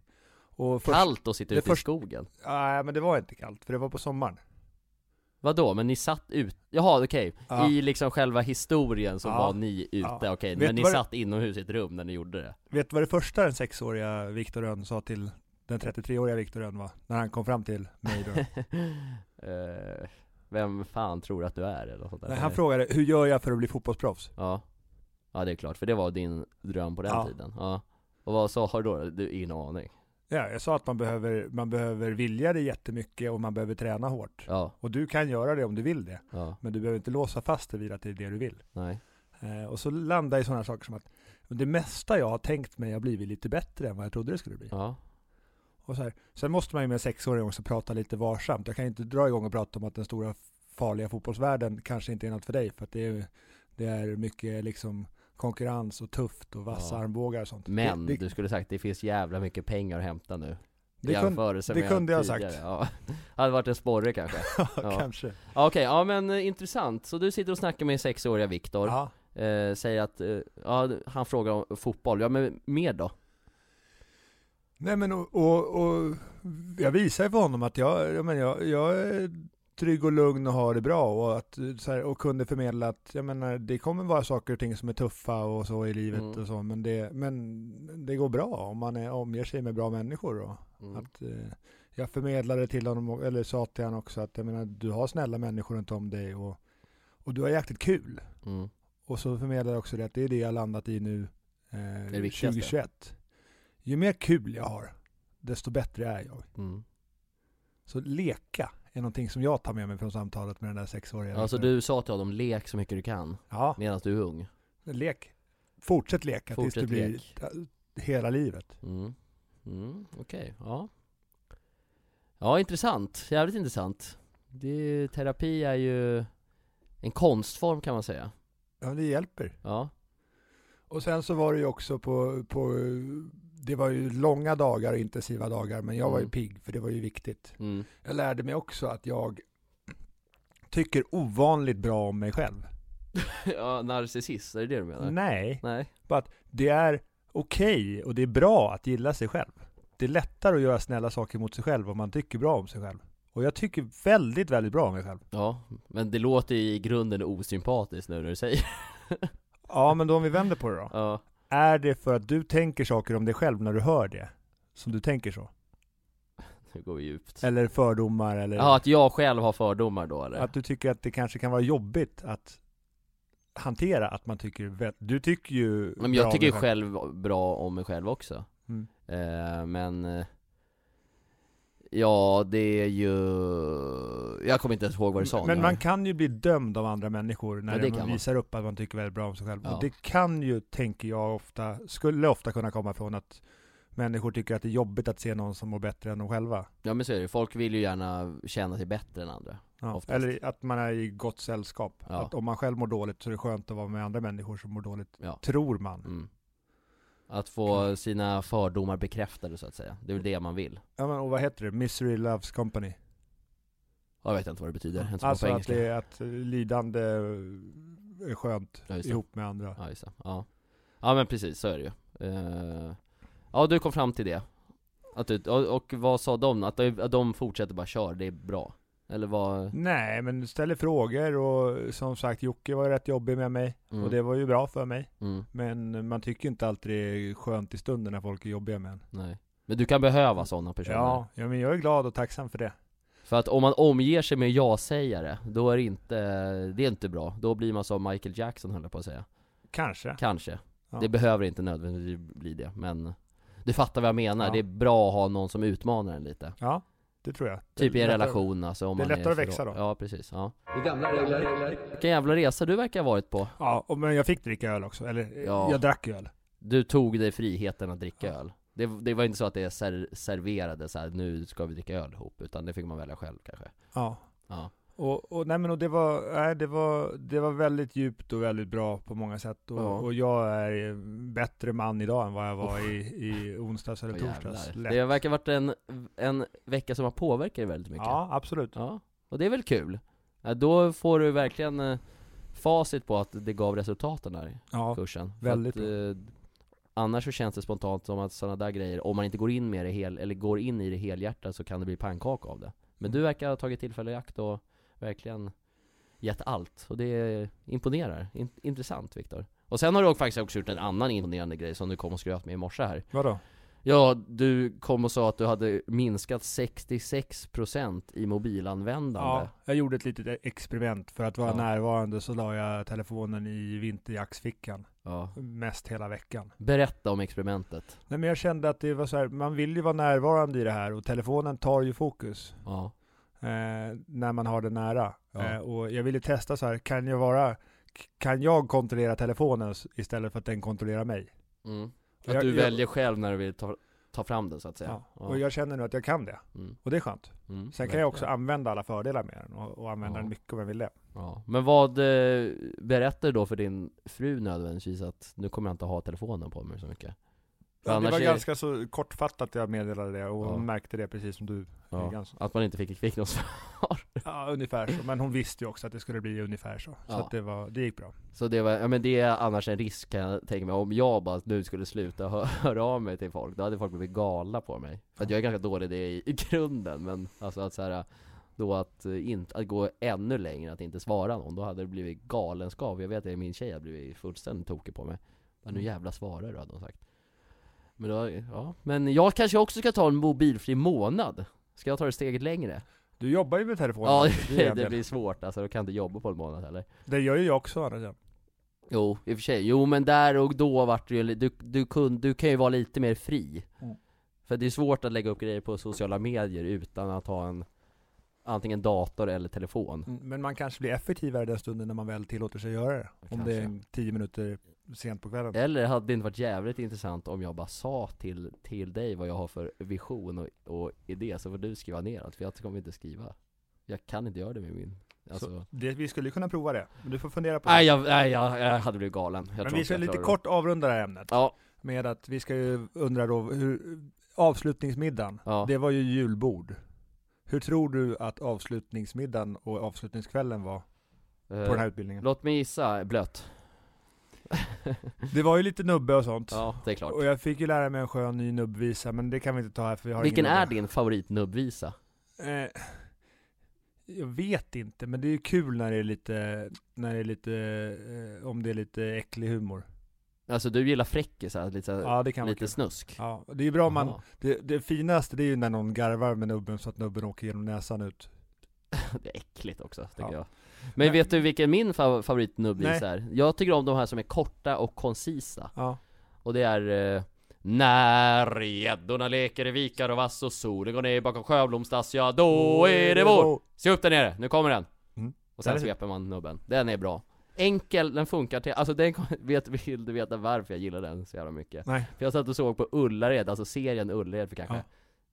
Speaker 2: Och först,
Speaker 1: Kallt att sitta
Speaker 2: det
Speaker 1: ute i
Speaker 2: först-
Speaker 1: skogen
Speaker 2: Nej, men det var inte kallt, för det var på sommaren.
Speaker 1: Vadå, men ni satt ut, jaha okej,
Speaker 2: Ja.
Speaker 1: i liksom själva historien så
Speaker 2: Ja.
Speaker 1: var ni ute,
Speaker 2: Ja.
Speaker 1: okej,
Speaker 2: Vet
Speaker 1: men ni
Speaker 2: vad det-
Speaker 1: satt inomhus i ett rum när ni gjorde det?
Speaker 2: Vet du vad det första den sexåriga Viktor Rönn sa till den 33-åriga Viktor Rönn var? När han kom fram till mig då.
Speaker 1: Eh, vem fan tror att du är eller något sånt där?
Speaker 2: Nej, han frågade, hur gör jag för att bli fotbollsproffs?
Speaker 1: Ja, ja det är klart, för det var din dröm på den
Speaker 2: Ja.
Speaker 1: tiden, ja Och vad sa du då? Du, ingen aning?
Speaker 2: Ja, jag sa att man behöver, man behöver vilja det jättemycket och man behöver träna hårt.
Speaker 1: Ja,
Speaker 2: Och du kan göra det om du vill det,
Speaker 1: ja,
Speaker 2: men du behöver inte låsa fast dig vid att det är det du vill.
Speaker 1: nej,
Speaker 2: Eh, Och så landar jag i sådana saker som att det mesta jag har tänkt mig har blivit lite bättre än vad jag trodde det skulle bli.
Speaker 1: ja,
Speaker 2: Och så här. Sen måste man ju med en sexåring också prata lite varsamt. Jag kan ju inte dra igång och prata om att den stora farliga fotbollsvärlden kanske inte är något för dig. För att det är, det är mycket liksom konkurrens och tufft och vassa
Speaker 1: Ja.
Speaker 2: armbågar och sånt.
Speaker 1: men
Speaker 2: det, det,
Speaker 1: du skulle sagt det finns jävla mycket pengar att hämta nu
Speaker 2: det,
Speaker 1: I
Speaker 2: kunde,
Speaker 1: jämförelse
Speaker 2: det
Speaker 1: med
Speaker 2: kunde jag ha
Speaker 1: tidigare.
Speaker 2: sagt.
Speaker 1: ja. hade varit en sporre kanske. Ja.
Speaker 2: kanske.
Speaker 1: Ja, Okej, ja men eh, intressant. Så du sitter och snackar med sexåriga Viktor,
Speaker 2: Ja.
Speaker 1: eh, säger att, eh, ja han frågar om fotboll, ja men mer då?
Speaker 2: Nej men och, och, och jag visar ju för honom att jag, jag, menar, jag, jag är trygg och lugn och har det bra och, att, eh, så här, och kunde förmedla att jag menar, det kommer vara saker och ting som är tuffa och så i livet
Speaker 1: Mm.
Speaker 2: och så men det, men det går bra om man är, omger sig med bra människor. Och,
Speaker 1: Mm.
Speaker 2: att, eh, jag förmedlade till honom, och- eller sa till honom också att jag menar, du har snälla människor runt om dig och, och du har jäkligt kul.
Speaker 1: Mm.
Speaker 2: Och så förmedlar jag också det att det är det jag landat i nu eh,
Speaker 1: Det viktigaste.
Speaker 2: 2021. Ju mer kul jag har, desto bättre är jag.
Speaker 1: Mm.
Speaker 2: Så leka är någonting som jag tar med mig från samtalet med den där sexåriga.
Speaker 1: Alltså du sa till honom, lek så mycket du kan,
Speaker 2: Ja,
Speaker 1: medan du är ung.
Speaker 2: lek. Fortsätt leka
Speaker 1: Fortsätt
Speaker 2: tills det
Speaker 1: lek.
Speaker 2: blir eh, hela livet.
Speaker 1: Mm. Mm, okej, ja. Ja, intressant. Jävligt intressant. Det är, ju- terapi är ju en konstform kan man säga.
Speaker 2: Ja, men det hjälper.
Speaker 1: Ja.
Speaker 2: Och sen så var det ju också på, på det var ju långa dagar och intensiva dagar, men jag var ju
Speaker 1: Mm.
Speaker 2: pigg för det var ju viktigt.
Speaker 1: Mm.
Speaker 2: Jag lärde mig också att jag tycker ovanligt bra om mig själv.
Speaker 1: ja, narcissist, är det det du menar?
Speaker 2: Nej,
Speaker 1: Nej.
Speaker 2: det är okej och det är bra att gilla sig själv. Det är lättare att göra snälla saker mot sig själv om man tycker bra om sig själv. Och jag tycker väldigt, väldigt bra om mig själv.
Speaker 1: Ja, men det låter ju i grunden osympatiskt nu när du säger
Speaker 2: Ja, men då om vi vänder på det då.
Speaker 1: Ja.
Speaker 2: Är det för att du tänker saker om dig själv när du hör det? Som du tänker så?
Speaker 1: Nu går vi djupt.
Speaker 2: Eller fördomar eller?
Speaker 1: Ja, att jag själv har fördomar då eller?
Speaker 2: Att du tycker att det kanske kan vara jobbigt att hantera att man tycker vä- Du tycker ju
Speaker 1: Men
Speaker 2: bra
Speaker 1: jag
Speaker 2: om
Speaker 1: tycker
Speaker 2: dig
Speaker 1: ju själv bra om mig själv också.
Speaker 2: Mm.
Speaker 1: Eh, men... eh, Ja, det är ju... Jag kommer inte ens ihåg vad du sa
Speaker 2: Men
Speaker 1: nu.
Speaker 2: man kan ju bli dömd av andra människor
Speaker 1: Ja,
Speaker 2: när
Speaker 1: det kan
Speaker 2: man
Speaker 1: man.
Speaker 2: visar upp att man tycker väldigt bra om sig själv.
Speaker 1: Ja.
Speaker 2: Och det kan ju, tänker jag ofta, skulle ofta kunna komma från att människor tycker att det är jobbigt att se någon som mår bättre än de själva.
Speaker 1: Ja men så är det ju. folk vill ju gärna känna sig bättre än andra.
Speaker 2: Ja.
Speaker 1: Oftast.
Speaker 2: Eller att man är i gott sällskap.
Speaker 1: Ja.
Speaker 2: Att om man själv mår dåligt så är det skönt att vara med andra människor som mår dåligt,
Speaker 1: Ja.
Speaker 2: tror man.
Speaker 1: Mm. Att få sina fördomar bekräftade så att säga, det är väl det man vill.
Speaker 2: Ja, men, och vad heter det? Misery Loves Company.
Speaker 1: Jag vet inte vad det betyder, jag är inte så bra
Speaker 2: Alltså
Speaker 1: på
Speaker 2: att,
Speaker 1: engelska.
Speaker 2: det, är- att lidande är skönt
Speaker 1: Ja, just det.
Speaker 2: ihop med andra.
Speaker 1: Ja, just det. Ja. ja men precis, så är det ju. Eh, Ja du kom fram till det. Att du, och, och vad sa de? Att de, att de fortsätter bara kör, det är bra? Eller vad?
Speaker 2: Nej, men du ställer frågor och som sagt Jocke var ju rätt jobbig med mig
Speaker 1: Mm,
Speaker 2: och det var ju bra för mig.
Speaker 1: mm,
Speaker 2: Men man tycker inte alltid det är skönt i stunden när folk är jobbiga med en.
Speaker 1: nej. Men du kan behöva sådana personer.
Speaker 2: Ja, ja, men jag är glad och tacksam för det.
Speaker 1: För att om man omger sig med ja-sägare, då är det inte, det är inte bra. Då blir man som Michael Jackson höll jag på att säga.
Speaker 2: Kanske.
Speaker 1: Kanske.
Speaker 2: Ja.
Speaker 1: Det behöver inte nödvändigtvis bli det, men du fattar vad jag menar.
Speaker 2: Ja.
Speaker 1: Det är bra att ha någon som utmanar en lite.
Speaker 2: Ja, det tror jag.
Speaker 1: Typ i en
Speaker 2: Lättare-
Speaker 1: relation alltså, om
Speaker 2: det är
Speaker 1: man
Speaker 2: lättare att
Speaker 1: för-
Speaker 2: växa då.
Speaker 1: Ja, precis. Ja.
Speaker 3: Det är gamla regler.
Speaker 1: Vilken jävla resa du verkar ha varit på.
Speaker 2: Ja, och, men jag fick dricka öl också. Eller eh,
Speaker 1: Ja.
Speaker 2: jag drack öl.
Speaker 1: Du tog dig friheten att dricka öl. Det, det var inte så att det ser, serverades så här, nu ska vi dricka öl ihop, utan det fick man välja själv kanske.
Speaker 2: Ja.
Speaker 1: Ja.
Speaker 2: Och, och, nej men och det, var, nej, det, var, det var väldigt djupt och väldigt bra på många sätt. Och,
Speaker 1: Ja.
Speaker 2: och jag är en bättre man idag än vad jag var i, i onsdags eller
Speaker 1: Åh,
Speaker 2: torsdags.
Speaker 1: jävlar.
Speaker 2: Lätt.
Speaker 1: det verkar ha varit en, en vecka som har påverkat dig väldigt mycket.
Speaker 2: Ja, absolut.
Speaker 1: Ja, och det är väl kul? Ja, då får du verkligen eh, facit på att det gav resultat den här
Speaker 2: Ja,
Speaker 1: kursen. För
Speaker 2: väldigt
Speaker 1: att, eh, annars så känns det spontant som att sådana där grejer, om man inte går in med det hel, eller går in i det helhjärtat så kan det bli pannkaka av det.
Speaker 2: Mm.
Speaker 1: Men du verkar ha tagit tillfället i akt och verkligen gett allt. Och det imponerar. In, intressant Viktor. Och sen har du faktiskt också gjort en annan imponerande grej som du kom och skröt med i morse här.
Speaker 2: vadå?
Speaker 1: Ja, du kom och sa att du hade minskat 66% i mobilanvändande.
Speaker 2: Ja, jag gjorde ett litet experiment. För att vara
Speaker 1: Ja.
Speaker 2: närvarande så la jag telefonen i vinterjacksfickan.
Speaker 1: Ja.
Speaker 2: Mest hela veckan.
Speaker 1: Berätta om experimentet.
Speaker 2: Nej men jag kände att det var så här, man vill ju vara närvarande i det här och telefonen tar ju fokus.
Speaker 1: Ja.
Speaker 2: eh, när man har det nära.
Speaker 1: Ja.
Speaker 2: Eh, och jag ville testa så här, kan jag, vara, kan jag kontrollera telefonen s- istället för att den kontrollerar mig?
Speaker 1: Mm. Att
Speaker 2: Jag-
Speaker 1: du
Speaker 2: jag-
Speaker 1: väljer själv när du vill ta, ta fram den så att säga.
Speaker 2: Ja. Och jag känner nu att jag kan det,
Speaker 1: Mm.
Speaker 2: och det är skönt.
Speaker 1: Mm.
Speaker 2: Sen kan
Speaker 1: Verkligen.
Speaker 2: jag också använda alla fördelar med den och, och använda
Speaker 1: Ja.
Speaker 2: den mycket om jag vill det.
Speaker 1: Ja. Men vad eh, berättar du då för din fru nödvändigtvis att nu kommer jag inte ha telefonen på mig så mycket?
Speaker 2: Ja, det
Speaker 1: Annars
Speaker 2: var
Speaker 1: är-
Speaker 2: ganska så kortfattat jag meddelade det och
Speaker 1: Ja.
Speaker 2: hon märkte det precis som du.
Speaker 1: Ja,
Speaker 2: Ganska-
Speaker 1: att man inte fick, fick något svar.
Speaker 2: Ja, ungefär så. Men hon visste ju också att det skulle bli ungefär så. Så
Speaker 1: Ja.
Speaker 2: att det, var, det gick bra.
Speaker 1: Så det var, ja men det är annars en risk kan jag tänka mig, om jag bara nu skulle sluta hö- höra av mig till folk, då hade folk blivit galna på mig. För att jag är ganska dålig i det i, i grunden, men alltså att så här, då att, eh, inte, att gå ännu längre, att inte svara någon, då hade det blivit galenskap. Jag vet att min tjej hade blivit fullständigt tokig på mig. Ja,
Speaker 2: Mm.
Speaker 1: nu jävla svarar du, hade hon sagt. Men då, ja, men jag kanske också ska ta en mobilfri månad. Ska jag ta det steget längre?
Speaker 2: Du jobbar ju med telefonen.
Speaker 1: Ja,
Speaker 2: det, är
Speaker 1: det,
Speaker 2: en del.
Speaker 1: blir svårt alltså, då kan jag inte jobba på en månad heller.
Speaker 2: det gör ju jag också å andra sidan.
Speaker 1: Jo, i och för sig. Jo men där och då vart det ju, li- du, du, kun, du kan ju vara lite mer fri.
Speaker 2: Mm.
Speaker 1: För det är svårt att lägga upp grejer på sociala medier utan att ha en, antingen dator eller telefon.
Speaker 2: Mm, Men man kanske blir effektivare den stunden när man väl tillåter sig göra det. Om det är en tio minuter sent på kvällen.
Speaker 1: Eller hade det inte varit jävligt intressant om jag bara sa till, till dig vad jag har för vision och, och idé, så får du skriva ner allt, för jag kommer inte skriva. Jag kan inte göra det med min, alltså.
Speaker 2: Det, vi skulle ju kunna prova det. Men du får fundera på det.
Speaker 1: Nej jag, nej jag, jag hade blivit galen. Jag
Speaker 2: Men
Speaker 1: tror
Speaker 2: vi
Speaker 1: inte
Speaker 2: ska
Speaker 1: jag
Speaker 2: lite
Speaker 1: klarar det.
Speaker 2: kort avrunda det här ämnet.
Speaker 1: Ja,
Speaker 2: Med att vi ska ju undra då hur avslutningsmiddagen,
Speaker 1: ja.
Speaker 2: det var ju julbord. Hur tror du att avslutningsmiddagen och avslutningskvällen var på den
Speaker 1: Eh,
Speaker 2: här utbildningen?
Speaker 1: Låt mig gissa, blött.
Speaker 2: Det var ju lite nubbe och sånt.
Speaker 1: Ja, det är klart.
Speaker 2: Och jag fick ju lära mig en skön ny nubbvisa, men det kan vi inte ta här för vi har
Speaker 1: Vilken
Speaker 2: ingen
Speaker 1: är din favoritnubbvisa?
Speaker 2: är eh, Jag vet inte, men det är ju kul när det är lite, när det är lite, eh, om det är lite äcklig humor.
Speaker 1: Alltså du gillar fräckisar, lite, så här-
Speaker 2: Ja, det kan vara
Speaker 1: Eh, lite
Speaker 2: kul.
Speaker 1: snusk?
Speaker 2: Ja, det är ju bra om man,
Speaker 1: Jaha.
Speaker 2: Det, det finaste det är ju när någon garvar med nubben så att nubben åker genom näsan ut.
Speaker 1: Det är äckligt också, tycker
Speaker 2: Ja.
Speaker 1: jag Men
Speaker 2: Men-
Speaker 1: vet du vilken min fav- favoritnubbis
Speaker 2: Nej.
Speaker 1: är? Jag tycker om de här som är korta och koncisa
Speaker 2: Ja.
Speaker 1: Och det är eh, När gäddorna leker i vikar och vass och solen går ner bakom sjöblomstass, ja då är det vår! Se upp där nere, nu kommer den!
Speaker 2: Mm.
Speaker 1: Och sen
Speaker 2: Där är-
Speaker 1: sveper man nubben, den är bra Enkel, den funkar till, alltså den kom- vet, vill du veta varför jag gillar den så jävla mycket?
Speaker 2: Nej.
Speaker 1: För jag satt och såg på Ullared, alltså serien Ullared för kanske
Speaker 2: Ja.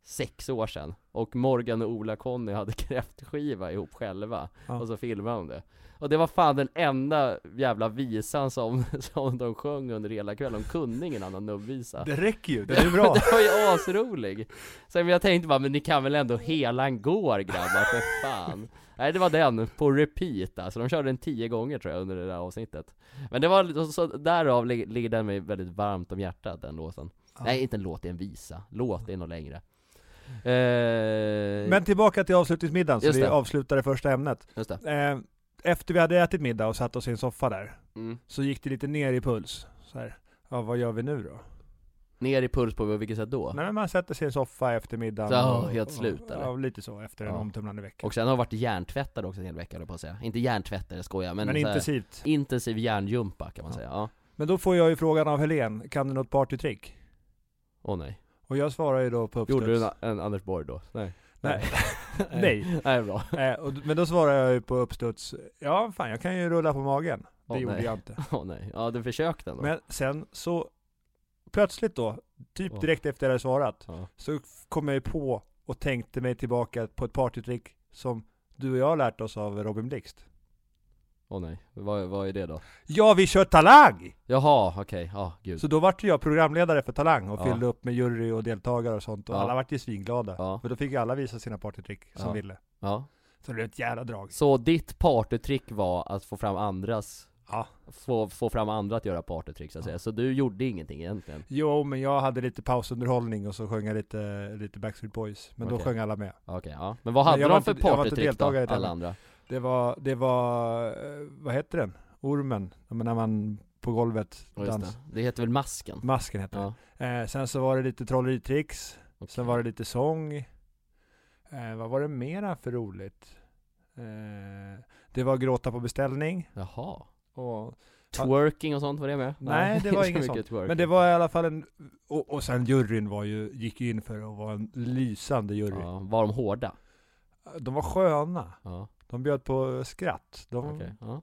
Speaker 1: sex år sedan Och Morgan och Ola-Conny hade kräftskiva ihop själva
Speaker 2: Ja.
Speaker 1: Och så filmade de det Och det var fan den enda jävla visan som, som de sjöng under hela kvällen De kunde ingen annan nubbvisa
Speaker 2: Det räcker ju, det är ju bra.
Speaker 1: Det var ju asrolig! Sen jag tänkte bara, men ni kan väl ändå hela en går grabbar, för fan Nej det var den, på repeat alltså, de körde den tio gånger tror jag under det där avsnittet Men det var, lite- så, så därav lig- ligger den mig väldigt varmt om hjärtat den låten
Speaker 2: Ja.
Speaker 1: Nej inte en låt, det är en visa, låt är nog längre eh,
Speaker 2: Men tillbaka till avslutningsmiddagen, så
Speaker 1: Just
Speaker 2: vi
Speaker 1: det.
Speaker 2: avslutar det första ämnet.
Speaker 1: Just det,
Speaker 2: Eh, efter vi hade ätit middag och satt oss i en soffa där,
Speaker 1: mm.
Speaker 2: så gick det lite ner i puls. Så här. Ja, vad gör vi nu då?
Speaker 1: ner i puls på vilket sätt då?
Speaker 2: Nej, men man sätter sig i en soffa efter middagen.
Speaker 1: Så,
Speaker 2: och-
Speaker 1: helt
Speaker 2: och-
Speaker 1: slut, eller?
Speaker 2: Ja, lite så, efter en
Speaker 1: Ja.
Speaker 2: omtumlande vecka.
Speaker 1: Och sen har jag varit hjärntvättad också en hel vecka höll jag på att säga, inte hjärntvättad, skojar men,
Speaker 2: men
Speaker 1: så här,
Speaker 2: intensivt.
Speaker 1: intensiv hjärngympa kan man
Speaker 2: Ja.
Speaker 1: säga, ja,
Speaker 2: Men då får jag ju frågan av Helen, kan du något partytrick?
Speaker 1: åh nej
Speaker 2: Och jag svarar ju då på uppstuds.
Speaker 1: Gjorde du en, en Anders Borg då? Nej
Speaker 2: Nej. Nej.
Speaker 1: Nej bra
Speaker 2: Eh, och, men då svarar jag ju på uppstuds, ja fan jag kan ju rulla på magen. Det
Speaker 1: Åh,
Speaker 2: gjorde
Speaker 1: nej.
Speaker 2: jag inte.
Speaker 1: Åh nej, ja du försökte ändå
Speaker 2: Men sen så, plötsligt då,
Speaker 1: Åh.
Speaker 2: typ direkt efter jag hade svarat,
Speaker 1: ja.
Speaker 2: så f- kom jag ju på och tänkte mig tillbaka på ett partytrick som du och jag har lärt oss av Robin Blixt.
Speaker 1: Åh nej, vad, vad är det då?
Speaker 2: Ja, vi kör Talang!
Speaker 1: Jaha, okej, ja gud
Speaker 2: Så då vart ju jag programledare för Talang och
Speaker 1: Ja.
Speaker 2: fyllde upp med jury och deltagare och sånt och
Speaker 1: Ja.
Speaker 2: alla vart ju svinglada.
Speaker 1: Ja.
Speaker 2: För då fick ju alla visa sina partytrick som
Speaker 1: Ja.
Speaker 2: ville.
Speaker 1: ja.
Speaker 2: Så det blev ett jävla drag.
Speaker 1: Så ditt partytrick var att få fram andras
Speaker 2: Ja.
Speaker 1: Få, få fram andra att göra partytrick så att säga, så du gjorde ingenting egentligen?
Speaker 2: Jo, men jag hade lite pausunderhållning och så sjöng jag lite, lite Backstreet Boys. Men då
Speaker 1: Okej.
Speaker 2: sjöng alla med.
Speaker 1: Okej, ja Men vad hade
Speaker 2: jag
Speaker 1: de
Speaker 2: var
Speaker 1: för
Speaker 2: inte- jag var inte
Speaker 1: partytrick då,
Speaker 2: deltagare i det,
Speaker 1: alla
Speaker 2: men-
Speaker 1: andra?
Speaker 2: Det var, det var, eh, vad heter den? Ormen, Ja, men när man på golvet
Speaker 1: Oh, just
Speaker 2: dans.
Speaker 1: det. det heter väl masken?
Speaker 2: Masken heter
Speaker 1: Ja,
Speaker 2: det. Eh, sen så var det lite trolleritricks,
Speaker 1: okej.
Speaker 2: sen var det lite sång. Eh, vad var det mera för roligt? Eh, det var gråta på beställning.
Speaker 1: Jaha
Speaker 2: Och,
Speaker 1: Twerking och sånt, var det med?
Speaker 2: Nej, det var
Speaker 1: så
Speaker 2: inget
Speaker 1: mycket
Speaker 2: sånt.
Speaker 1: twerking.
Speaker 2: men det var i alla fall en, och, och sen juryn var ju, gick ju in för att vara en lysande jury.
Speaker 1: ja, Var de hårda?
Speaker 2: De var sköna.
Speaker 1: Ja,
Speaker 2: De bjöd på skratt. De,
Speaker 1: okej, ja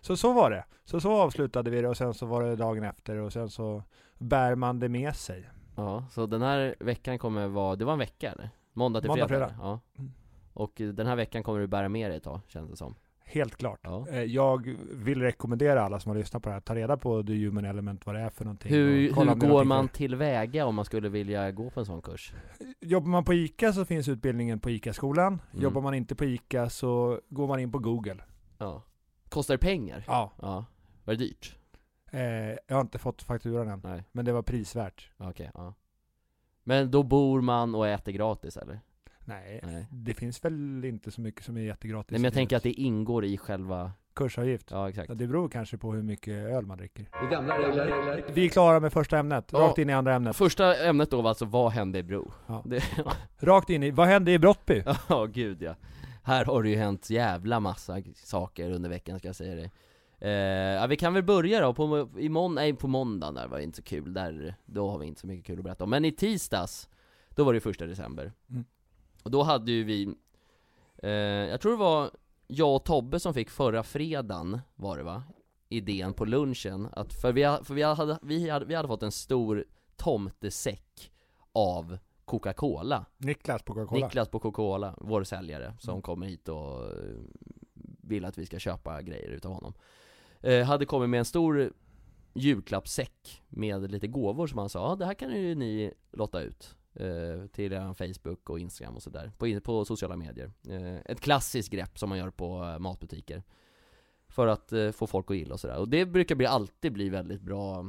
Speaker 2: Så så var det. Så så avslutade vi det och sen så var det dagen efter och sen så bär man det med sig.
Speaker 1: Ja, så den här veckan kommer vara, det var en vecka eller? Måndag till
Speaker 2: Måndag,
Speaker 1: fredag?
Speaker 2: fredag.
Speaker 1: Ja
Speaker 2: Mm.
Speaker 1: Och eh, den här veckan kommer du bära med dig ett tag, känns det som
Speaker 2: Helt klart.
Speaker 1: Ja.
Speaker 2: Eh, Jag vill rekommendera alla som har lyssnat på det här, ta reda på The Human Element, vad det är för någonting.
Speaker 1: Hur,
Speaker 2: och kolla
Speaker 1: hur
Speaker 2: om det är
Speaker 1: går
Speaker 2: någonting
Speaker 1: man tillväga om man skulle vilja gå på en sån kurs?
Speaker 2: Jobbar man på ICA så finns utbildningen på ICA-skolan.
Speaker 1: Mm.
Speaker 2: Jobbar man inte på ICA så går man in på Google.
Speaker 1: Ja. Kostar det pengar?
Speaker 2: Ja.
Speaker 1: Ja. Var det dyrt?
Speaker 2: Eh, jag har inte fått fakturan än,
Speaker 1: Nej,
Speaker 2: men det var prisvärt.
Speaker 1: okej, ja. Men då bor man och äter gratis eller?
Speaker 2: Nej,
Speaker 1: Nej.
Speaker 2: det finns väl inte så mycket som är jättegratis.
Speaker 1: Nej men jag tänker att det ingår i själva,
Speaker 2: Kursavgift.
Speaker 1: ja exakt.
Speaker 2: Ja, det beror kanske på hur mycket öl man dricker.
Speaker 3: Det är gamla regler.
Speaker 2: Vi är klara med första ämnet,
Speaker 1: Ja.
Speaker 2: rakt in i andra ämnet.
Speaker 1: Första ämnet då var alltså, vad hände i Bro?
Speaker 2: Ja.
Speaker 1: Det-
Speaker 2: Rakt in i, vad hände i Brottby?
Speaker 1: Ja, gud ja. Här har det ju hänt jävla massa saker under veckan ska jag säga dig. Eh, ja, vi kan väl börja då, på, i mån- nej, på måndagen där var det inte så kul, där, då har vi inte så mycket kul att berätta om. Men i tisdags, då var det ju första december.
Speaker 2: Mm.
Speaker 1: Och då hade ju vi, eh, jag tror det var jag och Tobbe som fick förra fredagen, var det va? Idén på lunchen, att, för, vi, ha- för vi, hade, vi, hade, vi hade fått en stor tomtesäck av Coca-Cola
Speaker 2: Niklas på Coca-Cola.
Speaker 1: Niklas på Coca-Cola, vår säljare, som kommer hit och eh, vill att vi ska köpa grejer utav honom eh, Hade kommit med en stor julklappssäck med lite gåvor som han sa, ah, det här kan ju ni lotta ut eh, till er Facebook och Instagram och sådär, på, in- på sociala medier eh, Ett klassiskt grepp som man gör på eh, matbutiker För att eh, få folk att gilla och sådär, och det brukar bli, alltid bli väldigt bra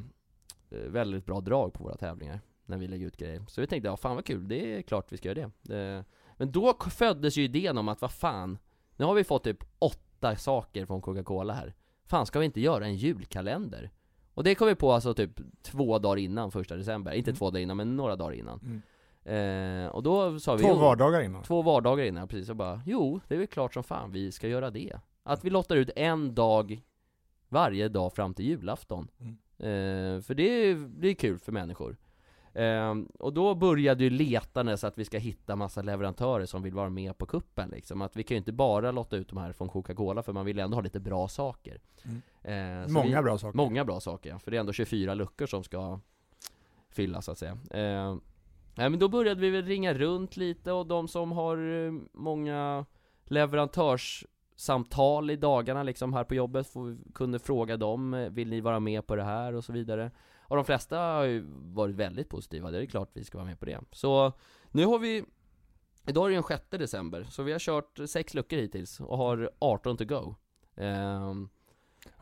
Speaker 1: eh, Väldigt bra drag på våra tävlingar när vi lägger ut grejer. Så vi tänkte, ja fan vad kul, det är klart vi ska göra det. Eh, Men då k- föddes ju idén om att, vad fan, nu har vi fått typ åtta saker från Coca-Cola här. Fan ska vi inte göra en julkalender? Och det kom vi på alltså typ två dagar innan första december, inte
Speaker 2: Mm.
Speaker 1: två dagar innan men några dagar innan.
Speaker 2: Mm.
Speaker 1: Eh, och då sa vi
Speaker 2: Två
Speaker 1: jo,
Speaker 2: vardagar innan.
Speaker 1: två vardagar innan, precis, och bara jo, det är väl klart som fan vi ska göra det. Att vi lottar ut en dag varje dag fram till julafton.
Speaker 2: Mm.
Speaker 1: Eh, för det är, det är kul för människor. Eh, och då började ju letandet så att vi ska hitta massa leverantörer som vill vara med på kuppen liksom. Att vi kan ju inte bara lotta ut de här från Coca-Cola för man vill ändå ha lite bra saker.
Speaker 2: Mm.
Speaker 1: Eh, så vi-
Speaker 2: Många bra saker.
Speaker 1: Många bra saker, för det är ändå 24 luckor som ska fyllas så att säga. Eh, nej, men då började vi väl ringa runt lite och de som har eh, många leverantörssamtal i dagarna liksom här på jobbet får, kunde fråga dem, eh, vill ni vara med på det här och så vidare. Och de flesta har ju varit väldigt positiva, det är klart vi ska vara med på det. Så nu har vi Idag är det den 6 december, så vi har kört sex luckor hittills och har 18 to go. Ehm,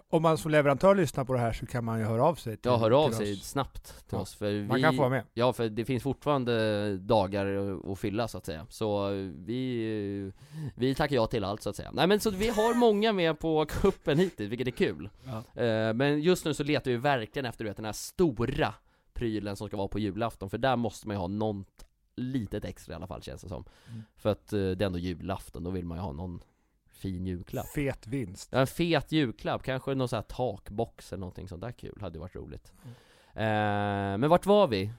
Speaker 2: Om man som leverantör lyssnar på det här så kan man ju höra av sig till
Speaker 1: Ja, hör av
Speaker 2: till
Speaker 1: sig
Speaker 2: oss.
Speaker 1: snabbt till
Speaker 2: Ja.
Speaker 1: oss för
Speaker 2: Man
Speaker 1: vi,
Speaker 2: kan få vara med.
Speaker 1: Ja, för det finns fortfarande dagar att fylla så att säga Så vi, vi tackar ja till allt så att säga Nej men så vi har många med på kuppen hittills, vilket är kul
Speaker 2: Ja.
Speaker 1: Eh, Men just nu så letar vi verkligen efter du vet, den här stora prylen som ska vara på julafton För där måste man ju ha något litet extra i alla fall känns det som
Speaker 2: Mm.
Speaker 1: För att eh, det är ändå julafton, då vill man ju ha någon fin julklapp
Speaker 2: Fet vinst.
Speaker 1: Ja, en fet julklapp, kanske någon sån här takbox eller någonting sånt där kul, hade ju varit roligt eh, Men vart var vi?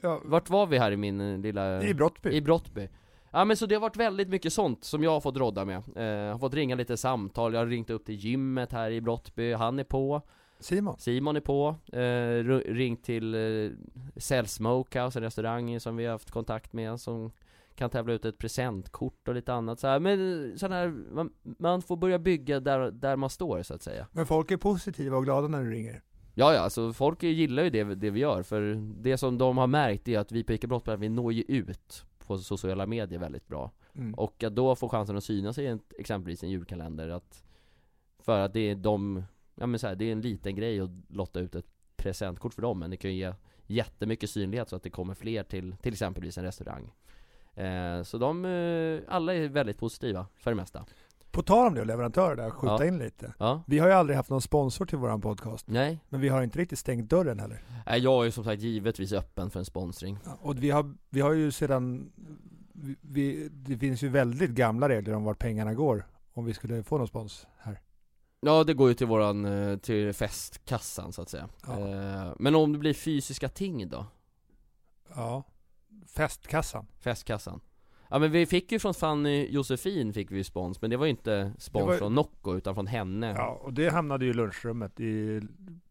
Speaker 2: Ja,
Speaker 1: Vart var vi här i min eh, lilla...
Speaker 2: I Brottby.
Speaker 1: I Brottby Ja men så det har varit väldigt mycket sånt som jag har fått rodda med eh, Har fått ringa lite samtal, jag har ringt upp till gymmet här i Brottby, han är på
Speaker 2: Simon.
Speaker 1: Simon är på, eh, ru- ringt till eh, Cell Smokehouse, en restaurang som vi har haft kontakt med som kan tävla ut ett presentkort och lite annat så här. men eh, sån här, man, man får börja bygga där, där man står så att säga
Speaker 2: Men folk är positiva och glada när du ringer.
Speaker 1: Ja ja, alltså folk gillar ju det, det vi gör, för det som de har märkt är att vi på Ica Brottberg, vi når ju ut på sociala medier väldigt bra
Speaker 2: Mm.
Speaker 1: Och att då få chansen att synas i en, exempelvis en julkalender att För att det är de, ja men så här, det är en liten grej att lotta ut ett presentkort för dem Men det kan ju ge jättemycket synlighet så att det kommer fler till till exempelvis en restaurang eh, Så de, eh, alla är väldigt positiva för det mesta
Speaker 2: På tal om det och leverantörer där, skjuta
Speaker 1: Ja.
Speaker 2: in lite.
Speaker 1: Ja,
Speaker 2: Vi har ju aldrig haft någon sponsor till våran podcast,
Speaker 1: nej,
Speaker 2: men vi har inte riktigt stängt dörren heller.
Speaker 1: Nej, jag är ju som sagt givetvis öppen för en sponsring
Speaker 2: Ja, Och vi har, vi har ju sedan, vi, vi, det finns ju väldigt gamla regler om vart pengarna går om vi skulle få någon spons här.
Speaker 1: Ja det går ju till våran, eh, till festkassan så att säga
Speaker 2: Ja.
Speaker 1: eh, Men om det blir fysiska ting då?
Speaker 2: Ja. Festkassan.
Speaker 1: Festkassan? Ja men vi fick ju från Fanny Josefin fick vi ju spons, men det var ju inte spons
Speaker 2: Det var ju-
Speaker 1: från Nocco utan från henne
Speaker 2: Ja, och det hamnade ju i lunchrummet i